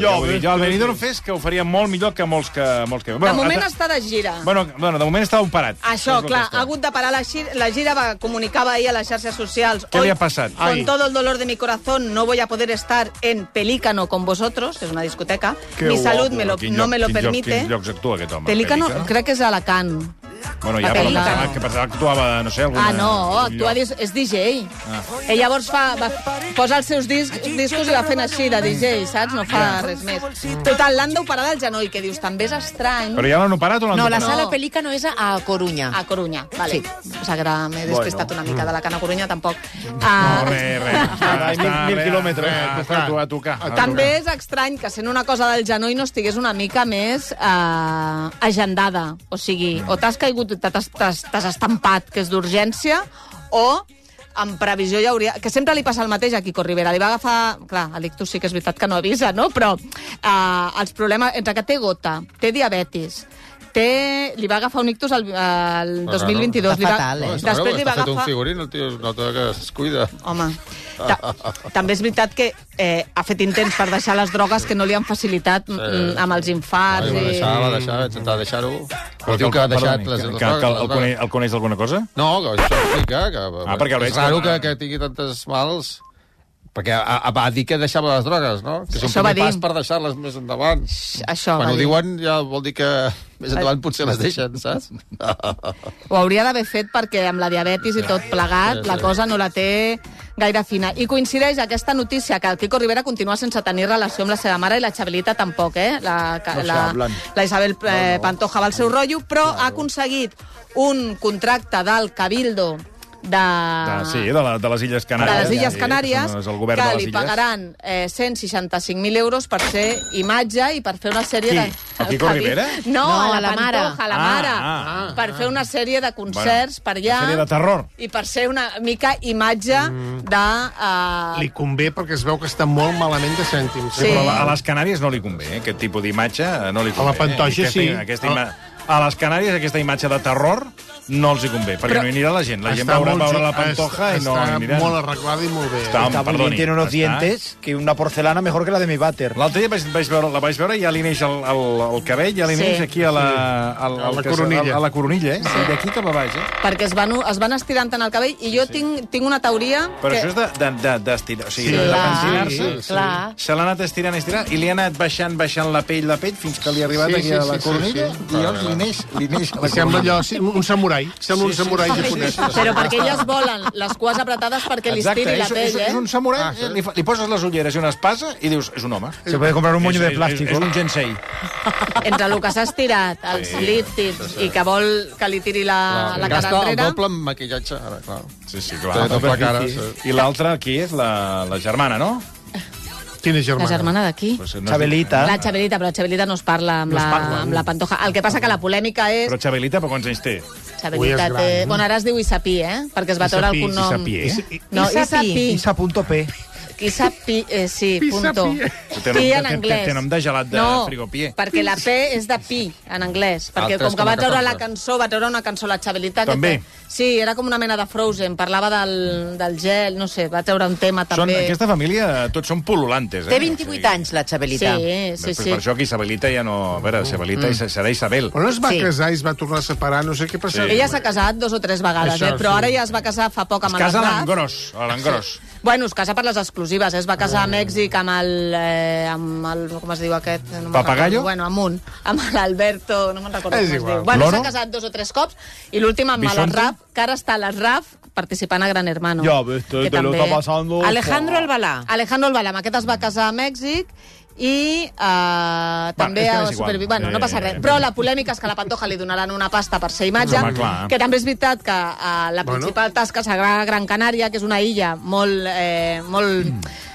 Speaker 10: Jo,
Speaker 2: Jo, ja ho he dit.
Speaker 10: ves,
Speaker 2: jo el
Speaker 10: ves,
Speaker 2: Benidorm
Speaker 10: ves.
Speaker 2: Fest que ho faria molt millor que molts que... Molts que...
Speaker 3: de moment
Speaker 2: atra-
Speaker 3: està de gira.
Speaker 2: bueno, bueno, de moment està operat.
Speaker 3: Això,
Speaker 2: És el que
Speaker 3: clar,
Speaker 2: està.
Speaker 3: ha hagut de parar la gira, la gira va, comunicava ahir a les xarxes socials.
Speaker 2: Què
Speaker 3: Hoy,
Speaker 2: li ha passat?
Speaker 3: Con
Speaker 2: Ai.
Speaker 3: todo el dolor de mi corazón no voy a poder estar en Pelícano con vosotros, que és una discoteca.
Speaker 2: Que
Speaker 3: mi
Speaker 2: guapo.
Speaker 3: salud me lo,
Speaker 2: Quin
Speaker 3: no
Speaker 2: lloc-
Speaker 3: me lo
Speaker 2: quins lloc-
Speaker 3: permite.
Speaker 2: Quins llocs actua aquest home?
Speaker 3: Pelícano,
Speaker 2: Pelícano?
Speaker 3: crec que és Alacant.
Speaker 2: Bueno, ja,
Speaker 3: A
Speaker 2: però
Speaker 3: Pelícano.
Speaker 2: pensava que, pensava que actuava, no sé, alguna...
Speaker 3: Ah, no,
Speaker 2: algun
Speaker 3: actua,
Speaker 2: lloc.
Speaker 3: dis- és DJ.
Speaker 2: Ah.
Speaker 3: I llavors fa, va, posa els seus disc, discos i va fent així de DJ, saps? No fa res més. Total, l'han d'operar del genoll, que dius, també és estrany.
Speaker 2: Però ja l'han operat o l'han
Speaker 4: No, la
Speaker 2: operat?
Speaker 4: sala Pelícano és a Coruña.
Speaker 3: A Coruña, vale. Sí. O sigui, que ara m'he
Speaker 2: Bueno.
Speaker 3: despistat una mica de la Cana Coruña, tampoc. Ah,
Speaker 2: No, res, res. Està,
Speaker 10: mil- mil
Speaker 2: bé,
Speaker 10: quilòmetres.
Speaker 2: bé, Està a tocar.
Speaker 9: Ah,
Speaker 2: a tocar.
Speaker 3: també és estrany que sent una cosa del genoll no estigués una mica més eh, agendada. O sigui,
Speaker 9: Mm.
Speaker 3: o t'has caigut i t'has- t'has t'has estampat, que és d'urgència, o en previsió ja hauria... Que sempre li passa el mateix a Quico Rivera. Li va agafar... Clar, a l'ictus sí que és veritat que no avisa, no? Però eh, els problemes... Entre que té gota, té diabetis, té... li va agafar un ictus el, el 2022. li va... Després li va
Speaker 9: Està fet un
Speaker 3: agafar...
Speaker 9: figurín, el tio es nota que es cuida.
Speaker 3: Home, ta també és veritat que eh, ha fet intents per deixar les drogues que no li han facilitat mm, mm, amb els
Speaker 9: Ah,
Speaker 3: infarts.
Speaker 9: va
Speaker 3: i...
Speaker 9: deixar, va deixar, va intentar deixar-ho. Però
Speaker 2: Però
Speaker 9: diu que ha deixat
Speaker 2: perdoni,
Speaker 9: les...
Speaker 2: que-
Speaker 9: les
Speaker 2: que- que el,
Speaker 9: drogues,
Speaker 2: el,
Speaker 9: les
Speaker 2: coneix,
Speaker 9: drogues.
Speaker 2: el coneix d'alguna cosa?
Speaker 9: No, que això explica que...
Speaker 2: Ah, perquè el veig
Speaker 9: és raro que,
Speaker 2: com-
Speaker 9: que tingui tantes mals... Perquè a, a, va dir que deixava les drogues, no? Que és un
Speaker 3: Això va
Speaker 9: primer pas
Speaker 3: dir.
Speaker 9: per deixar-les més endavant.
Speaker 3: Això,
Speaker 9: Quan
Speaker 3: va
Speaker 9: ho
Speaker 3: dir.
Speaker 9: diuen ja vol dir que més endavant potser les deixen, saps?
Speaker 3: Ho hauria d'haver fet perquè amb la diabetis i tot plegat
Speaker 9: Sí, sí.
Speaker 3: la cosa no la té gaire fina. I coincideix aquesta notícia que el Quico Rivera continua sense tenir relació amb la seva mare i la Xabelita tampoc, eh? La, ca-
Speaker 12: No se
Speaker 3: la,
Speaker 12: hablan.
Speaker 3: la Isabel eh, Pantoja va al seu rotllo, però ha aconseguit un contracte del Cabildo de,
Speaker 2: Ah, sí, de, la, de les Illes
Speaker 3: de
Speaker 2: Canàries.
Speaker 3: les Illes
Speaker 2: Sí,
Speaker 3: Canàries,
Speaker 2: que és el
Speaker 3: que
Speaker 2: govern de les
Speaker 3: li
Speaker 2: Illes.
Speaker 3: pagaran eh, 165.000 euros per ser imatge i per fer una sèrie
Speaker 2: Qui?
Speaker 3: de...
Speaker 2: A Quico
Speaker 3: Javi-
Speaker 2: Rivera?
Speaker 3: No,
Speaker 4: No,
Speaker 3: a
Speaker 4: a
Speaker 3: la
Speaker 4: la mare.
Speaker 3: Pantoja, a la
Speaker 2: Ah,
Speaker 3: mare.
Speaker 2: ah,
Speaker 3: per fer una sèrie de concerts per allà.
Speaker 2: una sèrie de terror. Mm.
Speaker 3: I per ser una mica imatge de... Uh,
Speaker 5: Li convé perquè es veu que està molt malament de cèntims.
Speaker 2: Sí, però a les Canàries no li convé, eh? aquest tipus d'imatge eh, no li convé.
Speaker 5: la Pantoja,
Speaker 2: eh? Aquesta-
Speaker 5: sí.
Speaker 2: Aquesta ima... A les Canàries aquesta imatge de terror no els hi convé, perquè
Speaker 5: Però-
Speaker 2: no hi anirà la gent. La gent
Speaker 5: Està
Speaker 2: veurà,
Speaker 5: molt
Speaker 2: veurà la
Speaker 5: ju-
Speaker 2: pantoja i no hi
Speaker 5: està
Speaker 2: aniran.
Speaker 5: molt arreglada i molt bé.
Speaker 2: Està,
Speaker 5: Està
Speaker 2: perdoni.
Speaker 5: molt
Speaker 2: Perdoni,
Speaker 5: bien, tiene unos
Speaker 2: està-
Speaker 5: dientes
Speaker 7: que una porcelana mejor que la de mi vàter.
Speaker 2: L'altre dia vaig, vaig veure, la vaig veure i ja li neix el, el, el cabell, ja li
Speaker 3: Sí.
Speaker 2: neix aquí a la, al,
Speaker 5: A
Speaker 2: al
Speaker 5: la
Speaker 2: que és-
Speaker 5: coronilla.
Speaker 2: A, a la coronilla, eh? Sí. D'aquí cap a baix, eh?
Speaker 3: perquè es van, es van estirant tant el cabell i jo sí. tinc, tinc una teoria
Speaker 2: Però
Speaker 3: que...
Speaker 2: això és de- de- de- d'estirar, o sigui,
Speaker 3: Sí,
Speaker 2: de, de
Speaker 3: clar,
Speaker 2: pentinar-se.
Speaker 3: sí, clar.
Speaker 2: Se l'ha anat estirant, estirant, i li ha anat baixant, baixant la pell, la pell, fins que li ha arribat
Speaker 5: Sí,
Speaker 2: aquí
Speaker 5: sí,
Speaker 2: a la
Speaker 5: sí, sí,
Speaker 2: coronilla,
Speaker 5: sí.
Speaker 2: i llavors li neix, li neix a la
Speaker 5: Sembla
Speaker 2: coronilla.
Speaker 5: allò, sí, un un samurai. Sembla un samurai japonès.
Speaker 3: Però perquè elles volen les cues apretades perquè li
Speaker 2: Exacte,
Speaker 3: estiri la
Speaker 2: és-
Speaker 3: pell,
Speaker 2: és,
Speaker 3: eh?
Speaker 2: és un samurai, ah, sí. li, fa- li poses les ulleres i una espasa i dius, és un home. Se puede comprar un moño de plástico. És,
Speaker 5: eh?
Speaker 2: és un gensei.
Speaker 3: entre el que s'ha estirat, els
Speaker 9: Sí,
Speaker 3: líptids, i que vol que li tiri la, la cara
Speaker 9: Gasta el
Speaker 3: enrere...
Speaker 9: doble amb maquillatge, ara, clar.
Speaker 2: Sí, sí,
Speaker 9: Té doble cara.
Speaker 2: Sí,
Speaker 9: sí.
Speaker 2: sí. I l'altra, qui és? La, la germana, no?
Speaker 5: Quina
Speaker 3: La germana d'aquí.
Speaker 2: Pues no és-
Speaker 7: Xabelita.
Speaker 3: La Xabelita, però la Xabelita no es parla amb,
Speaker 2: Ah. No es
Speaker 3: la,
Speaker 2: parla.
Speaker 3: amb la Pantoja. El que passa que la polèmica és...
Speaker 2: Però Xabelita, per quants anys té? Ui, és
Speaker 3: Xabelita
Speaker 2: gran,
Speaker 3: té...
Speaker 2: eh?
Speaker 3: Bueno, ara es diu Isapí, eh? Perquè es va treure el cognom...
Speaker 2: Isapí, eh?
Speaker 3: No, Isapí.
Speaker 7: Isa.p.
Speaker 3: Isapí, eh, sí, punto.
Speaker 2: Té nom-
Speaker 3: Pi en
Speaker 2: té-
Speaker 3: anglès.
Speaker 2: Té nom de gelat de
Speaker 3: no,
Speaker 2: frigopié.
Speaker 3: perquè la P és de pi, en anglès. Perquè
Speaker 2: Altres
Speaker 3: com que
Speaker 2: com
Speaker 3: va
Speaker 2: a
Speaker 3: treure la
Speaker 2: catorze.
Speaker 3: cançó, va treure una cançó, la Xabelita...
Speaker 2: També.
Speaker 3: Que té... Sí, era com una mena de Frozen, parlava del, del gel, no sé, va treure un tema
Speaker 2: Són,
Speaker 3: també.
Speaker 2: aquesta família, eh, tots són pululantes. Eh?
Speaker 4: Té 28 anys, la Xabelita.
Speaker 3: Sí, sí,
Speaker 2: Per això que Isabelita ja no... A veure, Isabelita mm. serà Isabel.
Speaker 5: Però no es va
Speaker 3: Sí.
Speaker 5: casar i es va tornar a separar, no sé què passa.
Speaker 3: Ella s'ha casat dos o tres vegades,
Speaker 5: Això,
Speaker 3: eh? però
Speaker 5: sí.
Speaker 3: ara ja es va casar fa poc
Speaker 2: Es
Speaker 3: amb el
Speaker 2: casa a
Speaker 3: Aznar.
Speaker 2: l'engròs, a l'engròs.
Speaker 3: Bueno, es casa per les exclusives, eh? es va casar a Mèxic amb el, eh, amb el... com es diu aquest? No me'n
Speaker 2: Papagayo?
Speaker 3: recordo. Bueno, amb un, amb l'Alberto, no me'n recordo
Speaker 2: És
Speaker 3: com
Speaker 2: igual.
Speaker 3: es diu. Bueno,
Speaker 2: Loro?
Speaker 3: s'ha casat dos o tres cops, i l'últim amb
Speaker 2: Bisonte?
Speaker 3: l'Arraf, que ara està a l'Arraf participant a Gran Hermano.
Speaker 10: Ya ves, te-
Speaker 3: que
Speaker 10: te lo
Speaker 3: també-
Speaker 10: está pasando.
Speaker 3: Alejandro Albalá. Alejandro Albalá, amb aquest es va casar a Mèxic, i eh, també
Speaker 2: és que
Speaker 3: a
Speaker 2: m'és igual.
Speaker 3: Supervi... Bueno, no passa
Speaker 2: Eh,
Speaker 3: res. Però la polèmica és que a la Pantoja li donaran una pasta per ser imatge,
Speaker 2: Home, clar.
Speaker 3: que també és veritat que eh, la
Speaker 2: Bueno.
Speaker 3: principal tasca serà a Gran Canària, que és una illa molt... Eh, molt,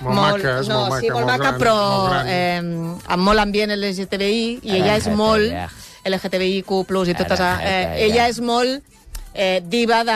Speaker 5: Mm, Molt maca, és
Speaker 3: no,
Speaker 5: molt
Speaker 3: sí, molt,
Speaker 5: maca, molt
Speaker 3: maca,
Speaker 5: gran,
Speaker 3: però
Speaker 5: molt gran.
Speaker 3: eh, amb molt ambient LGTBI, i ella és molt... LGTBIQ+, i totes... Eh, ella és molt eh, diva, de,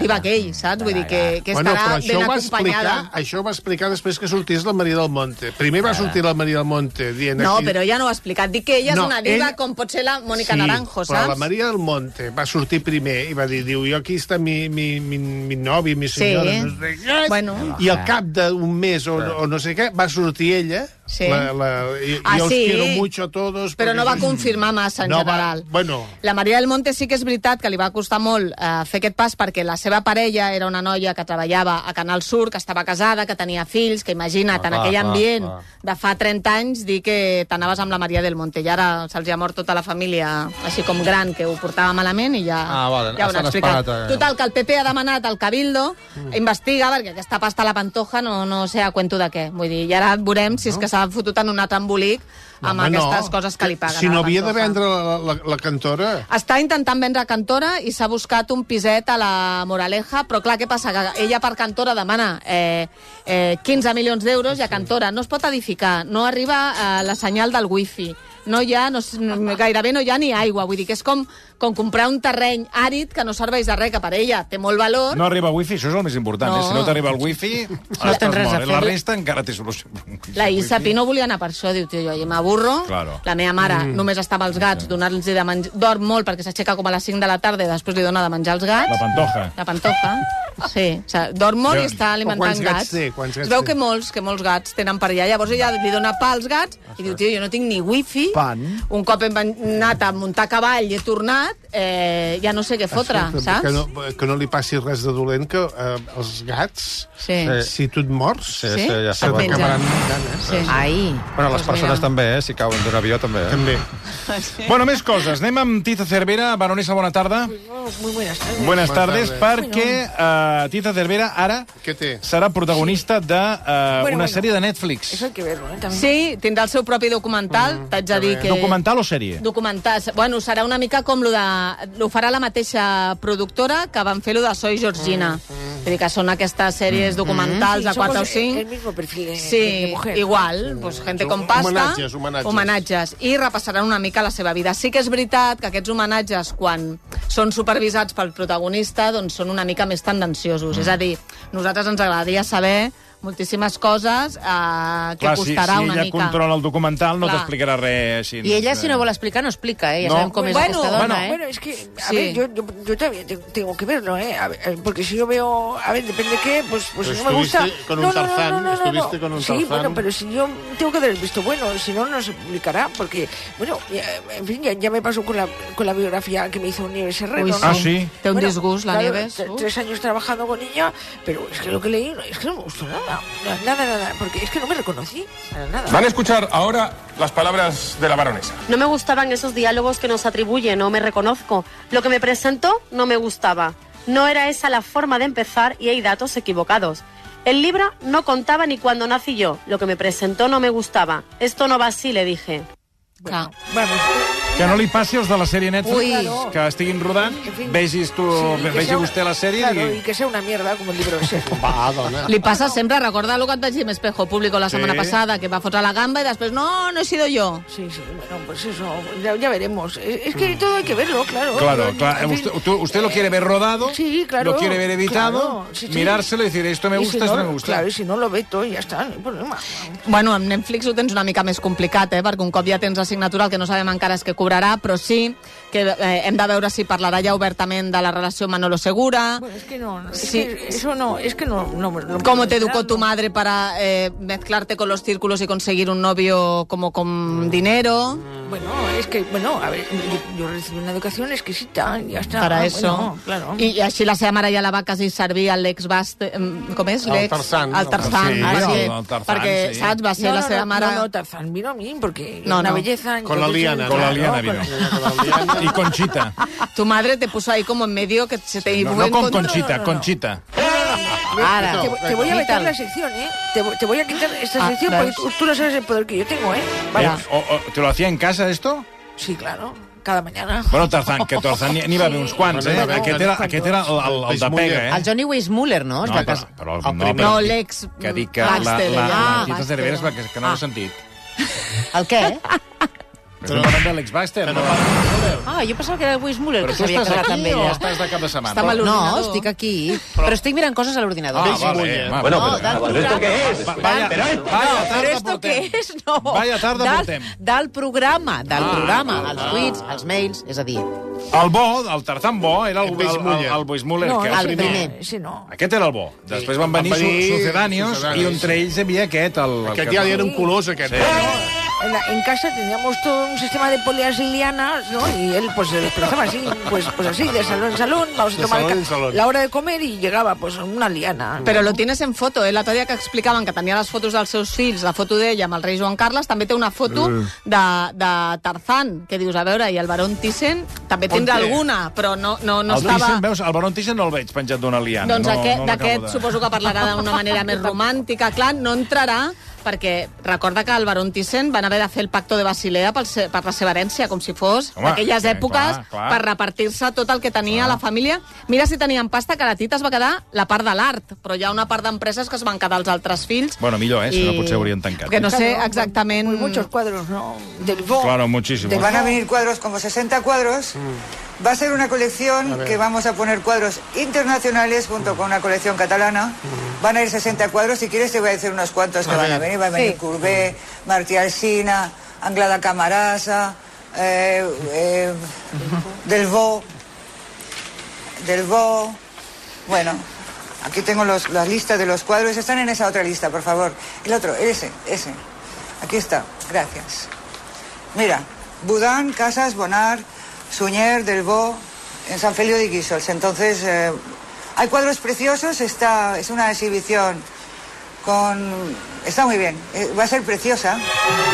Speaker 3: diva gay, saps? Vull dir que, que
Speaker 5: Bueno,
Speaker 3: estarà
Speaker 5: però això
Speaker 3: ben
Speaker 5: ho va
Speaker 3: acompanyada.
Speaker 5: Explicar, això ho va explicar després que sortís la Maria del Monte. Primer va
Speaker 3: Ara.
Speaker 5: sortir la Maria del Monte dient...
Speaker 3: No,
Speaker 5: aquí...
Speaker 3: però ella no ho ha explicat. Dic que ella
Speaker 5: No,
Speaker 3: és una diva
Speaker 5: ell-
Speaker 3: com pot ser la Mònica Naranjo,
Speaker 5: però
Speaker 3: saps?
Speaker 5: la Maria del Monte va sortir primer i va dir, diu, jo aquí està mi, mi, mi, mi novi, mi senyora, sí. no sé
Speaker 3: Bueno.
Speaker 5: I al cap d'un mes o, o no sé què, va sortir ella.
Speaker 3: Sí.
Speaker 5: La, la, i,
Speaker 3: Ah,
Speaker 5: jo
Speaker 3: sí?
Speaker 5: os quiero mucho a todos.
Speaker 3: Però
Speaker 5: perquè-
Speaker 3: no va confirmar massa, en
Speaker 5: no
Speaker 3: general.
Speaker 5: Va, bueno,
Speaker 3: La Maria del Monte sí que és veritat que li va costar molt eh, fer aquest pas perquè la seva parella era una noia que treballava a Canal Sur, que estava casada, que tenia fills, que imagina't,
Speaker 12: Ah,
Speaker 3: en
Speaker 12: clar,
Speaker 3: aquell
Speaker 12: clar,
Speaker 3: ambient
Speaker 12: clar.
Speaker 3: de fa 30 anys, dir que t'anaves amb la Maria del Monte i ara se'ls ha mort tota la família, així com gran, que ho portava malament i ja,
Speaker 9: Ah, vale,
Speaker 3: ja ho
Speaker 9: s'han
Speaker 3: han explicat.
Speaker 9: esperat, eh.
Speaker 3: Total, que el PP ha demanat al Cabildo investiga, perquè aquesta pasta a la Pantoja no, no sé a cuento de què. Vull dir, i ara veurem si és que s'ha fotut en un altre embolic amb
Speaker 5: home,
Speaker 3: aquestes
Speaker 5: no.
Speaker 3: coses que li paguen
Speaker 5: si
Speaker 3: a la
Speaker 5: no havia de
Speaker 3: Pantoja.
Speaker 5: vendre la, la, la cantora...
Speaker 3: Està intentant vendre cantora i s'ha buscat un piset a la Moraleja, però clar, què passa? Que ella per cantora demana eh, eh, 15 milions d'euros i a cantora no es pot edificar, no arriba eh, la senyal del wifi, no hi ha, no, s- no- gairebé no hi ha ni aigua, vull dir que és com, com comprar un terreny àrid que no serveix de res, que per ella té molt valor.
Speaker 2: No arriba wifi, això és el més important.
Speaker 3: No.
Speaker 2: Eh? Si no t'arriba el wifi, no estàs
Speaker 3: tens res a
Speaker 2: mort. eh?
Speaker 3: fer.
Speaker 2: La resta encara té solució.
Speaker 3: La Issa Pi no volia anar per això, diu, tio, jo ja m'avorro.
Speaker 2: Claro.
Speaker 3: La meva mare
Speaker 2: Mm.
Speaker 3: mm. només està amb els gats, donar-los de menjar... Dorm molt perquè s'aixeca com a les 5 de la tarda i després li dona de menjar als gats.
Speaker 2: La Pantoja.
Speaker 3: La pantofa. Sí, o sigui, dorm molt i
Speaker 2: Però-
Speaker 3: està alimentant
Speaker 2: Quants gats
Speaker 3: gats.
Speaker 2: té? Quants gats
Speaker 3: es veu
Speaker 2: té?
Speaker 3: que molts, que molts gats tenen per allà. Llavors ella li dona pa als gats i diu, tio, jo no tinc ni wifi.
Speaker 8: Pan.
Speaker 3: Un cop hem anat a muntar cavall i he tornat, eh, ja no sé què fotre,
Speaker 5: Escolta'm,
Speaker 3: saps?
Speaker 5: Que no, que no li passi res de dolent, que eh, els gats, eh,
Speaker 3: Sí.
Speaker 5: si tu et mors,
Speaker 9: sí, ja
Speaker 5: se
Speaker 9: saben.
Speaker 5: t'acabaran
Speaker 9: Mengen.
Speaker 5: ganes.
Speaker 3: Sí.
Speaker 4: Ai.
Speaker 9: Bueno, les
Speaker 2: Doncs
Speaker 9: persones
Speaker 2: mira.
Speaker 9: també, eh? Si cauen d'un avió, també. Eh?
Speaker 5: També.
Speaker 2: Bueno, més coses. Anem amb Tita Cervera. Baronesa, bona tarda.
Speaker 6: Muy buenas tardes.
Speaker 2: Buenas tardes, perquè eh, Tita Cervera ara serà protagonista de eh,
Speaker 3: Bueno,
Speaker 2: una
Speaker 3: bueno.
Speaker 2: sèrie de Netflix.
Speaker 6: Eso hay que verlo, ¿eh? También.
Speaker 3: Sí, tindrà el seu propi documental,
Speaker 2: Mm,
Speaker 3: t'haig de dir que...
Speaker 2: Documental o sèrie?
Speaker 3: documentar. Bueno, serà una mica com lo de... Ho farà la mateixa productora que van fer lo de Soy
Speaker 2: Mm,
Speaker 3: Georgina. Vull dir que són aquestes sèries documentals
Speaker 6: Sí,
Speaker 3: de 4 o
Speaker 6: somos
Speaker 3: 5.
Speaker 6: El mismo perfil de, de
Speaker 3: Sí,
Speaker 6: mujer.
Speaker 3: igual, pues gente con pasta.
Speaker 6: homenatges, homenatges.
Speaker 3: Homenatges. I repassaran una mica la seva vida. Sí que és veritat que aquests homenatges, quan són supervisats pel protagonista, doncs són una mica més tendenciosos. És a dir, nosaltres ens agradaria saber moltíssimes coses eh, que
Speaker 2: Clar, si, si
Speaker 3: costarà una
Speaker 2: ella
Speaker 3: mica.
Speaker 2: controla el documental no
Speaker 3: Clar.
Speaker 2: t'explicarà res així.
Speaker 4: Y ella, si no vuelve a explicar, no explica, ¿eh? Ya
Speaker 2: No.
Speaker 4: saben cómo es
Speaker 6: bueno,
Speaker 4: esta dona,
Speaker 6: bueno,
Speaker 4: ¿eh?
Speaker 6: bueno, es que, a
Speaker 4: Sí.
Speaker 6: ver, yo, yo, yo también te- tengo que verlo, ¿eh? A ver, eh, porque si yo veo, a ver, depende de qué, pues, pues
Speaker 5: Pero
Speaker 6: no me gusta.
Speaker 5: estuviste con
Speaker 6: No,
Speaker 5: un
Speaker 6: no, no,
Speaker 5: Tarzán,
Speaker 6: no, no, no,
Speaker 5: estuviste
Speaker 6: no.
Speaker 5: con un
Speaker 6: Sí,
Speaker 5: Tarzán.
Speaker 6: bueno, pero si yo tengo que dar el visto bueno, si no, no se publicará, porque, bueno, ya, en fin, ya, ya me pasó con la, con la biografía que me hizo Nieves Herrero.
Speaker 3: Uy,
Speaker 6: ¿no?
Speaker 3: sí. Ah, sí. Te un
Speaker 6: Bueno,
Speaker 3: disgusto, la
Speaker 6: claro,
Speaker 3: Nieves,
Speaker 6: tre-
Speaker 3: uh.
Speaker 6: Tres años trabajando con ella, pero es que lo que leí, no- es que no me gustó nada. Nada, nada, porque es que no me reconocí, para nada.
Speaker 13: Van a escuchar ahora las palabras de la baronesa.
Speaker 14: No me gustaban esos diálogos que nos atribuye, no me reconozco. Lo que me presentó no me gustaba. No era esa la forma de empezar y hay datos equivocados. El libro no contaba ni cuando nací yo. Lo que me presentó no me gustaba. Esto no va así, le dije.
Speaker 2: Que no li passi els de la sèrie Netflix,
Speaker 6: Ui.
Speaker 2: que estiguin rodant, vegis tu,
Speaker 6: Sí, que
Speaker 2: vegi
Speaker 6: sea-
Speaker 2: vostè la sèrie
Speaker 6: claro,
Speaker 2: i
Speaker 6: y que sea una mierda como el libro de Sergio.
Speaker 2: Va, Ah, dona.
Speaker 3: Li passa sempre, recorda el que et vaig dir amb Espejo Público la
Speaker 2: Sí.
Speaker 3: setmana passada, que va fotre la gamba i després, no, no he sido yo.
Speaker 6: Sí, sí, bueno, pues eso, ya, ya veremos. Es, es que todo hay que verlo, claro.
Speaker 2: Mm. Claro,
Speaker 6: Yo-
Speaker 2: claro.
Speaker 6: en fin,
Speaker 2: Usted, tú- usted lo quiere ver rodado,
Speaker 6: sí, claro.
Speaker 2: lo quiere ver evitado,
Speaker 6: claro, sí, sí.
Speaker 2: mirárselo y decir, esto me
Speaker 6: Y
Speaker 2: gusta,
Speaker 6: si no,
Speaker 2: esto no me gusta.
Speaker 6: Claro, y si no lo ve todo, ya está, no hay problema.
Speaker 3: Bueno, amb Netflix ho tens una mica més complicat, eh? perquè un cop ja tens l'assignatura, el que no sabem encara és que cobrarà, però sí que eh, hem de veure si parlarà ja obertament de la relació Manolo Segura,
Speaker 6: Bueno, es que no, no, es
Speaker 3: Sí.
Speaker 6: que eso no, es que no, no, no-
Speaker 3: cómo te educó tu madre para eh, mezclarte con los círculos y conseguir un novio como con dinero.
Speaker 6: Bueno, es que, bueno, a ver, yo, yo recibí una educación exquisita, ya está. ah,
Speaker 3: Para
Speaker 6: bueno,
Speaker 3: eso.
Speaker 6: claro.
Speaker 3: I, I així la seva mare ja la va quasi servir a l'ex Bast... em, Com és?
Speaker 6: Al
Speaker 3: L'ex-
Speaker 6: Tarzán.
Speaker 3: Al Tarzán.
Speaker 6: Sí,
Speaker 3: perquè,
Speaker 6: al Tarzán,
Speaker 3: perquè
Speaker 6: sí.
Speaker 3: saps, va ser
Speaker 6: No,
Speaker 3: la
Speaker 6: no,
Speaker 3: seva
Speaker 6: no,
Speaker 3: mare...
Speaker 6: no, no, Tarzán vino a mí porque
Speaker 3: No,
Speaker 6: una
Speaker 3: no.
Speaker 6: belleza.
Speaker 2: Con la
Speaker 6: entonces,
Speaker 2: liana, con la
Speaker 6: claro,
Speaker 2: liana vino. Y Conchita.
Speaker 3: Tu madre te puso ahí como en medio que se te...
Speaker 2: No, no
Speaker 3: iban
Speaker 2: con
Speaker 3: con-
Speaker 2: Conchita, Conchita.
Speaker 4: Ara,
Speaker 6: te, te voy a vetar
Speaker 4: quítalo.
Speaker 6: la sección, ¿eh? Te, vo- te voy a quitar esta
Speaker 2: Ah,
Speaker 6: sección porque
Speaker 2: ¿ves?
Speaker 6: tú, tú no sabes el poder que yo tengo, ¿eh? Vaya.
Speaker 2: Eh, o- o- ¿Te lo hacía en casa, esto?
Speaker 6: Sí, claro. Cada mañana.
Speaker 2: Bueno, Tarzan, que Tarzan n'hi n'hi va haver uns quants, eh?
Speaker 4: Bueno, no,
Speaker 2: Aquest era, aquest era el, el, el de pega, eh?
Speaker 4: El Johnny Weissmuller, no? Es va
Speaker 2: però,
Speaker 4: casar.
Speaker 2: però,
Speaker 4: El
Speaker 2: no,
Speaker 4: primer.
Speaker 2: però
Speaker 4: No,
Speaker 2: dic
Speaker 4: l'ex,
Speaker 2: Que dic que la,
Speaker 4: Baxter,
Speaker 2: la, la,
Speaker 4: ja. Ah,
Speaker 2: Tita
Speaker 4: Baxter,
Speaker 2: Cerveras,
Speaker 4: ja.
Speaker 2: que, que no
Speaker 4: Ah.
Speaker 2: l'he sentit.
Speaker 4: El què?
Speaker 2: Però no parlem de l'ex Baxter, no?
Speaker 4: Ah, jo pensava que era el Weissmuller,
Speaker 2: Però
Speaker 4: que
Speaker 2: tu
Speaker 4: s'havia
Speaker 2: estàs
Speaker 4: casat amb
Speaker 2: aquí o
Speaker 4: ella.
Speaker 2: estàs de cap de setmana?
Speaker 4: Estava no, estic aquí, però, estic mirant coses a l'ordinador.
Speaker 2: Ah, vale. Va,
Speaker 4: Bueno, però-
Speaker 2: va, va,
Speaker 4: però
Speaker 2: va,
Speaker 4: esto
Speaker 2: va,
Speaker 4: qué
Speaker 2: va,
Speaker 4: es?
Speaker 2: va, Vaya,
Speaker 4: Però-
Speaker 2: vaya
Speaker 4: No,
Speaker 2: tarda
Speaker 4: però esto
Speaker 2: portem.
Speaker 4: què és? No.
Speaker 2: Vaya tarda
Speaker 4: del,
Speaker 2: portem.
Speaker 4: Del programa, del
Speaker 2: Ah,
Speaker 4: programa,
Speaker 2: ah,
Speaker 4: els
Speaker 2: ah.
Speaker 4: tuits, els mails, és a dir...
Speaker 2: El bo, el Tarzan bo, era el, el, el, el, el Weissmuller,
Speaker 4: No,
Speaker 2: que
Speaker 4: el
Speaker 2: era
Speaker 4: primer.
Speaker 6: Eh, Sí, no.
Speaker 2: Aquest era el bo. Després van
Speaker 5: Van
Speaker 2: venir, su-
Speaker 5: venir
Speaker 2: sucedáneos, i
Speaker 5: sucedáneos.
Speaker 2: entre ells hi havia aquest. El, el
Speaker 5: Aquest
Speaker 2: que-
Speaker 5: ja li eren colors, aquest.
Speaker 2: Sí.
Speaker 6: En, la- en casa teníamos todo un sistema de poleas y lianas, ¿no? Y él pues se desplazaba así, pues, pues así, de salón en salón, vamos a
Speaker 3: De
Speaker 6: tomar
Speaker 3: salón
Speaker 6: ca-
Speaker 3: en salón.
Speaker 6: la hora de comer y llegaba pues una liana.
Speaker 3: Però lo tienes en foto, eh? L'altre dia que explicaven que tenia les fotos dels seus fills, la foto d'ella amb el rei Joan Carles, també té una foto
Speaker 6: Eh.
Speaker 3: de, de Tarzán, que dius, a veure, i el barón Thyssen també tindrà
Speaker 2: On té?
Speaker 3: alguna, però no, no, no
Speaker 2: el
Speaker 3: estava...
Speaker 2: Thyssen, veus, el Baron Thyssen no el veig penjat d'una liana.
Speaker 3: Doncs
Speaker 2: no,
Speaker 3: aquest,
Speaker 2: no l'acabo
Speaker 3: d'aquest suposo que parlarà d'una manera més romàntica. Clar, no entrarà perquè recorda que el baron Thyssen van haver de fer el pacto de Basilea pel se, per la seva herència, com si fos
Speaker 12: Home,
Speaker 3: d'aquelles
Speaker 12: sí,
Speaker 2: eh,
Speaker 3: èpoques
Speaker 12: clar, clar.
Speaker 3: per repartir-se tot el que tenia la família. Mira si tenien pasta, que la Tita es va quedar la part de l'art, però hi ha una part d'empreses que es van quedar els altres fills.
Speaker 2: Bueno, millor, eh? Si no,
Speaker 3: I-
Speaker 2: potser haurien tancat.
Speaker 3: Que no sé exactament...
Speaker 6: Muchos cuadros, ¿no? Del
Speaker 2: Claro, muchísimo.
Speaker 12: Te van a venir cuadros como 60 cuadros. Va a ser una
Speaker 5: A
Speaker 12: colección
Speaker 5: ver.
Speaker 12: que vamos a poner cuadros internacionales junto con una colección catalana. Van a ir 60 cuadros. Si quieres te voy a decir unos cuantos que
Speaker 5: A
Speaker 12: van a
Speaker 5: ver.
Speaker 12: venir. Va a venir
Speaker 5: Sí.
Speaker 12: Courbet, Martí Alsina, Anglada Camarasa, eh, eh, Delvaux, Delvaux. Bueno, aquí tengo los, la lista de los cuadros. Están en esa otra lista, por favor. El otro, ese, ese. Aquí está. Gracias. Mira, Budán, Casas, Bonar, Suñer, Delbo, en San Felio de Guisols. Entonces, eh, hay cuadros preciosos, está, es una exhibición con... Está muy bien, eh, va a ser preciosa.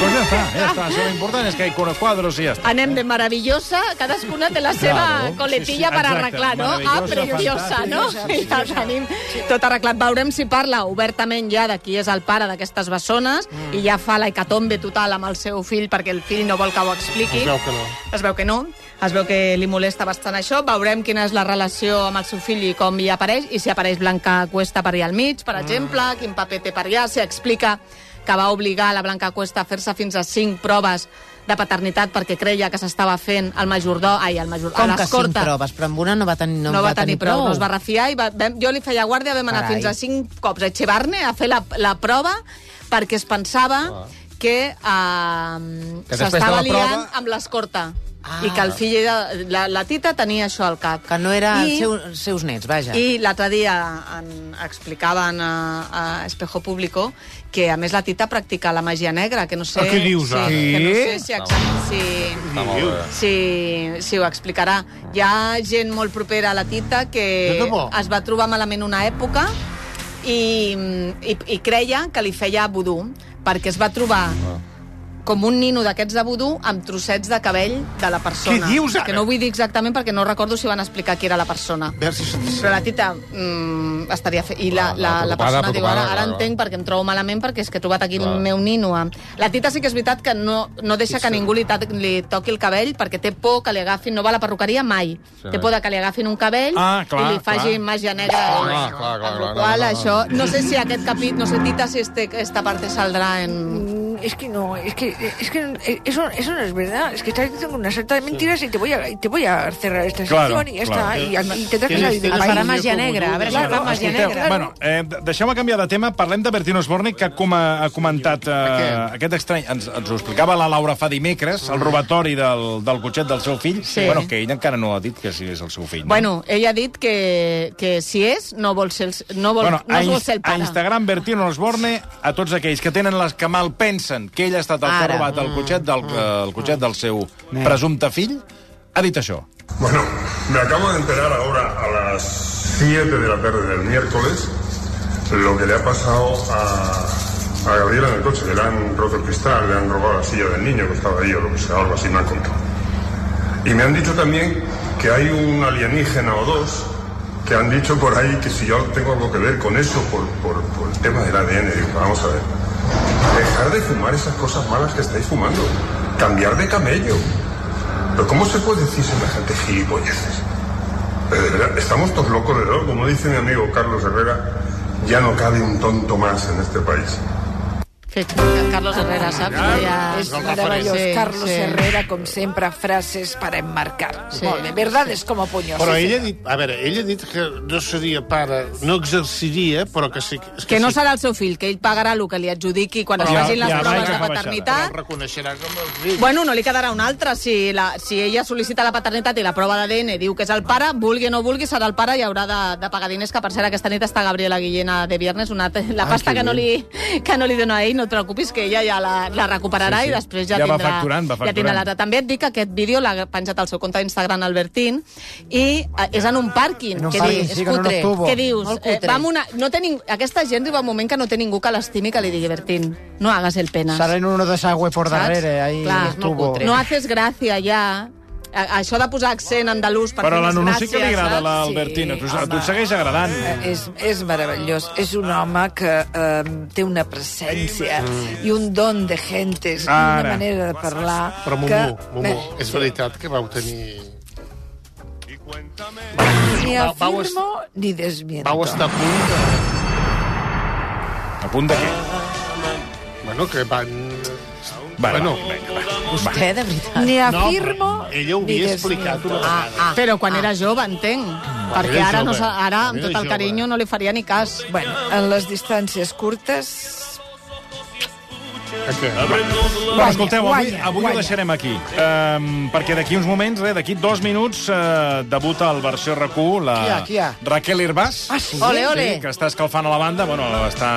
Speaker 2: Pues ja està, ja està. Això l'important és que hi ha quadros i ja està.
Speaker 3: Anem de meravillosa, cadascuna té la seva
Speaker 2: Claro,
Speaker 3: coletilla
Speaker 2: sí, sí,
Speaker 3: per
Speaker 2: exacte,
Speaker 3: arreglar, no? Ah,
Speaker 2: meravillosa,
Speaker 3: preciosa, no? I la tenim tot arreglat. Veurem si parla obertament ja de qui és el pare d'aquestes bessones
Speaker 2: Mm.
Speaker 3: i ja fa la hecatombe total amb el seu fill perquè el fill no vol que ho expliqui.
Speaker 1: Es veu que no.
Speaker 3: Es veu que no. Es veu que li molesta bastant això. Veurem quina és la relació amb el seu fill i com hi apareix, i si apareix Blanca Cuesta per allà al mig, per exemple,
Speaker 4: Mm.
Speaker 3: quin paper té per allà, si explica que va obligar la Blanca Cuesta a fer-se fins a cinc proves de paternitat perquè creia que s'estava fent el majordó, ai, el majordó,
Speaker 4: Com
Speaker 3: a
Speaker 4: que cinc
Speaker 3: l'escorta.
Speaker 4: proves, però amb una no va tenir,
Speaker 3: No,
Speaker 4: no
Speaker 3: no
Speaker 4: en
Speaker 3: va tenir prou,
Speaker 4: prou.
Speaker 3: no es va refiar i va, vam, jo li feia guàrdia, vam anar
Speaker 4: Carai.
Speaker 3: fins a cinc cops a Echevarne a fer la, la prova perquè es pensava que eh,
Speaker 4: Ah. Que després de
Speaker 3: s'estava
Speaker 4: la prova- Ah.
Speaker 3: liant amb l'escorta. I que el fill era... La, la tita tenia això al cap.
Speaker 4: Que no era
Speaker 3: I-
Speaker 4: I... seu, els seus nets, vaja.
Speaker 3: i l'altre dia en, explicaven a, a Espejo Público que, a més, la Tita practica la màgia negra, que no sé...
Speaker 5: Ah, què dius,
Speaker 3: sí,
Speaker 5: ara?
Speaker 3: que no sé
Speaker 5: Sí?
Speaker 3: si, exact, si,
Speaker 5: molt bé.
Speaker 3: si, si ho explicarà. Hi ha gent molt propera a la Tita que
Speaker 5: Jo tampoc.
Speaker 3: es va trobar malament una època i, i, i creia que li feia vudú, perquè es va trobar
Speaker 5: Ah.
Speaker 3: com un nino d'aquests de vudú amb trossets de cabell de la persona.
Speaker 5: Què dius, ara?
Speaker 3: Que no vull dir exactament perquè no recordo si van explicar qui era la persona. Però la tita mm, estaria fe... I la, la,
Speaker 4: preocupada,
Speaker 3: la persona diu, ara,
Speaker 4: preocupada,
Speaker 3: ara
Speaker 4: clar,
Speaker 3: entenc perquè em trobo malament perquè és que he trobat aquí
Speaker 4: Clar.
Speaker 3: el meu nino. amb-". La tita sí que és veritat que no, no deixa que ningú li, ta- li toqui el cabell perquè té por que li agafin... No va a la perruqueria mai.
Speaker 9: Sí.
Speaker 3: Té por de que li agafin un cabell
Speaker 9: Ah, clar,
Speaker 3: i li faci
Speaker 9: clar.
Speaker 3: màgia negra.
Speaker 9: Ah, Clar, clar, clar,
Speaker 3: Igual,
Speaker 9: clar, no, no, no.
Speaker 3: això... No sé si aquest capít... No sé, tita, si este, esta parte saldrá en...
Speaker 6: Mm, Es que no, es que, es que eh, eso, eso no es verdad. Es que estás diciendo una sarta de mentiras y te voy a, y te voy a cerrar esta
Speaker 2: Claro,
Speaker 6: sección y ya está.
Speaker 2: claro.
Speaker 6: Y, aquí- y tendrás que salir del
Speaker 4: El
Speaker 6: país.
Speaker 4: farà màgia negra, a veure si el fa màgia negra.
Speaker 2: Bueno, eh, deixeu-me canviar de tema. Parlem de Bertino Osborne, que com ha, ha comentat eh, aquest. estrany... Ens, ens ho explicava la Laura fa dimecres, el robatori del, del cotxet del seu fill.
Speaker 3: Sí.
Speaker 2: Bueno, que ell encara no ha dit que si és el seu fill. no?
Speaker 3: Bueno, ella ha dit que, que si és, no vol ser el, no vol,
Speaker 2: bueno,
Speaker 3: no
Speaker 2: a,
Speaker 3: es vol
Speaker 2: Inst-
Speaker 3: ser el
Speaker 2: a
Speaker 3: pare.
Speaker 2: Instagram Bertino Osborne a tots aquells que tenen les que mal pensen que ell ha estat el que ha
Speaker 3: Ara.
Speaker 2: robat el cotxet del, eh, el cotxet del seu presumpte fill, ha dit això.
Speaker 13: Bueno, me acabo de enterar ahora a las 7 de la tarde del miércoles lo que le ha pasado a, a Gabriela en el coche. Que le han roto el cristal, le han robado la silla del niño que estaba ahí o lo que sea, algo así me han contado. Y me han dicho también que hay un alienígena o dos que han dicho por ahí que si yo tengo algo que ver con eso por, por, por el tema del ADN, digo, vamos a ver. Dejar de fumar esas cosas malas que estáis fumando. Cambiar de camello. Pero ¿cómo se puede decir semejante gilipolleces? Pero de verdad, estamos todos locos de loco. Como dice mi amigo Carlos Herrera, ya no cabe un tonto más en este país.
Speaker 3: Fet, Carlos Herrera, saps? Ah, Ja,
Speaker 6: És meravellós, Carlos Herrera, com sempre, frases per emmarcar.
Speaker 5: Sí,
Speaker 6: Molt bé, verdades com a punyos.
Speaker 5: Però
Speaker 6: sí,
Speaker 5: ella ha
Speaker 6: senyor.
Speaker 5: dit, a veure, ella ha dit que no seria pare, no exerciria, però que sí... és
Speaker 3: Que no
Speaker 5: sí,
Speaker 3: serà el seu fill, que ell pagarà el que li adjudiqui quan es
Speaker 5: Però
Speaker 3: facin
Speaker 5: ja-
Speaker 3: les
Speaker 5: ja
Speaker 3: proves
Speaker 5: vaig
Speaker 3: de
Speaker 5: acabar
Speaker 3: paternitat.
Speaker 5: Però el reconeixerà com el fill.
Speaker 3: Bueno, no li quedarà un altre. Si, la, si ella sol·licita la paternitat i la prova d'ADN diu que és el pare, vulgui o no vulgui, serà el pare i haurà de, de pagar diners, que per cert aquesta nit està Gabriela Guillena de Viernes, una, la pasta que, no li, que no li dona a ell, no et preocupis, que ella ja la, la recuperarà sí, sí.
Speaker 2: Sí, sí.
Speaker 3: i després ja,
Speaker 2: Ja va
Speaker 3: tindrà,
Speaker 2: facturant, va
Speaker 3: ja tindrà
Speaker 2: facturant.
Speaker 3: l'altre. També et dic que aquest vídeo l'ha penjat al seu compte d'Instagram Albertín i eh, és en un pàrquing.
Speaker 7: En un
Speaker 3: que
Speaker 7: pàrquing,
Speaker 3: dius,
Speaker 7: sí, que no
Speaker 3: "Escolta,
Speaker 7: n'estuvo".
Speaker 3: Què dius?
Speaker 7: Molt
Speaker 3: Eh,
Speaker 7: cutre.
Speaker 3: va amb una... no té ning... Aquesta gent arriba un moment que no té ningú que l'estimi que li digui, Bertín, no hagas el penas.
Speaker 7: Salen uno de desagüe por
Speaker 3: Saps?
Speaker 7: darrere, ahí
Speaker 3: Clar,
Speaker 7: estuvo.
Speaker 3: No haces gràcia, ja. A, això de posar accent andalús per
Speaker 2: Però a
Speaker 3: fer
Speaker 2: la
Speaker 3: més
Speaker 2: Nunu sí
Speaker 3: gràcia,
Speaker 2: que li agrada
Speaker 3: saps?
Speaker 2: l'Albertina. Sí, tu, tu et segueix agradant.
Speaker 6: Eh, És, és meravellós. És un home que eh, té una presència
Speaker 5: Mm.
Speaker 6: i un don de gentes i
Speaker 5: Ara.
Speaker 6: una manera de parlar...
Speaker 5: Però Mumu,
Speaker 6: que...
Speaker 5: Mumu, és veritat que vau tenir...
Speaker 6: Ni
Speaker 5: Vau- vau
Speaker 6: afirmo ni desmiento.
Speaker 5: Vau estar a punt de...
Speaker 2: A punt de què?
Speaker 5: Bueno, que van...
Speaker 2: Vale,
Speaker 5: bueno,
Speaker 4: Vostè, de veritat.
Speaker 6: Ni
Speaker 5: No,
Speaker 6: afirmo... No,
Speaker 5: ella ho havia explicat una
Speaker 3: Ah,
Speaker 5: vegada.
Speaker 3: ah, però quan era jove, entenc. perquè
Speaker 6: era
Speaker 3: ara, no,
Speaker 6: jove.
Speaker 3: sa- ara amb
Speaker 6: Ah. Quan
Speaker 3: tot
Speaker 6: era
Speaker 3: el
Speaker 6: jove.
Speaker 3: carinyo, no li faria ni cas.
Speaker 6: Bueno, en les distàncies curtes...
Speaker 2: Bueno, escolteu, avui,
Speaker 6: guanya,
Speaker 2: avui
Speaker 6: guanya.
Speaker 2: ho deixarem aquí, um, perquè d'aquí uns moments, res, d'aquí dos minuts, uh, debuta el versió RAC1 la
Speaker 7: Qui hi ha, qui hi ha?
Speaker 2: Raquel Herbàs.
Speaker 7: Ah, sí? Ole, ole.
Speaker 2: Sí, que està escalfant a la banda. Bueno, està...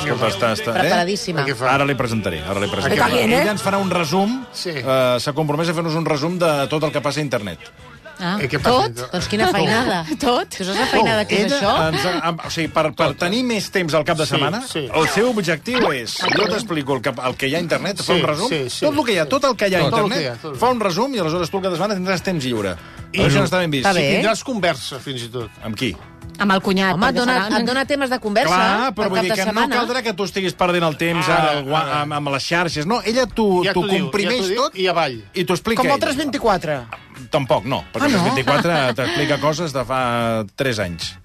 Speaker 2: Escolta, està, està
Speaker 4: Preparadíssima.
Speaker 2: Eh? Ara li presentaré, ara li presentaré.
Speaker 4: Està bien, eh?
Speaker 2: Ella ens farà un resum, sí. uh, s'ha compromès a fer-nos un resum de tot el que passa a internet.
Speaker 4: Ah,
Speaker 2: Eh, què passa?
Speaker 4: tot? Doncs quina feinada.
Speaker 3: Tot?
Speaker 4: Tu saps la feinada que és
Speaker 2: Ella
Speaker 4: això?
Speaker 2: Ens, ha- am- o sigui, per, per tenir més temps al cap de
Speaker 5: Sí,
Speaker 2: setmana,
Speaker 5: sí.
Speaker 2: el seu objectiu és... Jo t'explico el, que, el que hi ha a internet, fa
Speaker 5: Sí,
Speaker 2: un resum.
Speaker 5: sí, sí,
Speaker 2: tot el que hi ha, tot el que hi ha a
Speaker 5: Tot el que hi ha,
Speaker 2: internet,
Speaker 5: tot el que hi ha.
Speaker 2: fa un resum i aleshores tu el cap de setmana tindràs temps lliure. I això no està ben vist.
Speaker 5: Està
Speaker 4: eh?
Speaker 5: bé. Si tindràs conversa, fins i tot.
Speaker 2: Amb qui?
Speaker 3: Amb el cunyat.
Speaker 4: Home, et
Speaker 3: perquè
Speaker 4: dona,
Speaker 3: seran-
Speaker 4: et dona temes de conversa
Speaker 2: Clar, però
Speaker 4: per
Speaker 2: vull
Speaker 4: cap
Speaker 2: dir
Speaker 4: de
Speaker 2: que no
Speaker 4: setmana.
Speaker 2: caldrà que tu estiguis perdent el temps ara,
Speaker 5: Ara,
Speaker 2: al gua- Amb, amb les xarxes. No, ella t'ho
Speaker 5: Ja
Speaker 2: t'ho
Speaker 5: t'ho diu, ja
Speaker 2: comprimeix
Speaker 5: t'ho diu,
Speaker 2: tot i avall. I t'ho explica
Speaker 7: Com el
Speaker 2: ella.
Speaker 7: 324.
Speaker 2: Tampoc, no, perquè
Speaker 7: Ah,
Speaker 2: el
Speaker 7: no?
Speaker 2: 24 t'explica coses de fa 3 anys.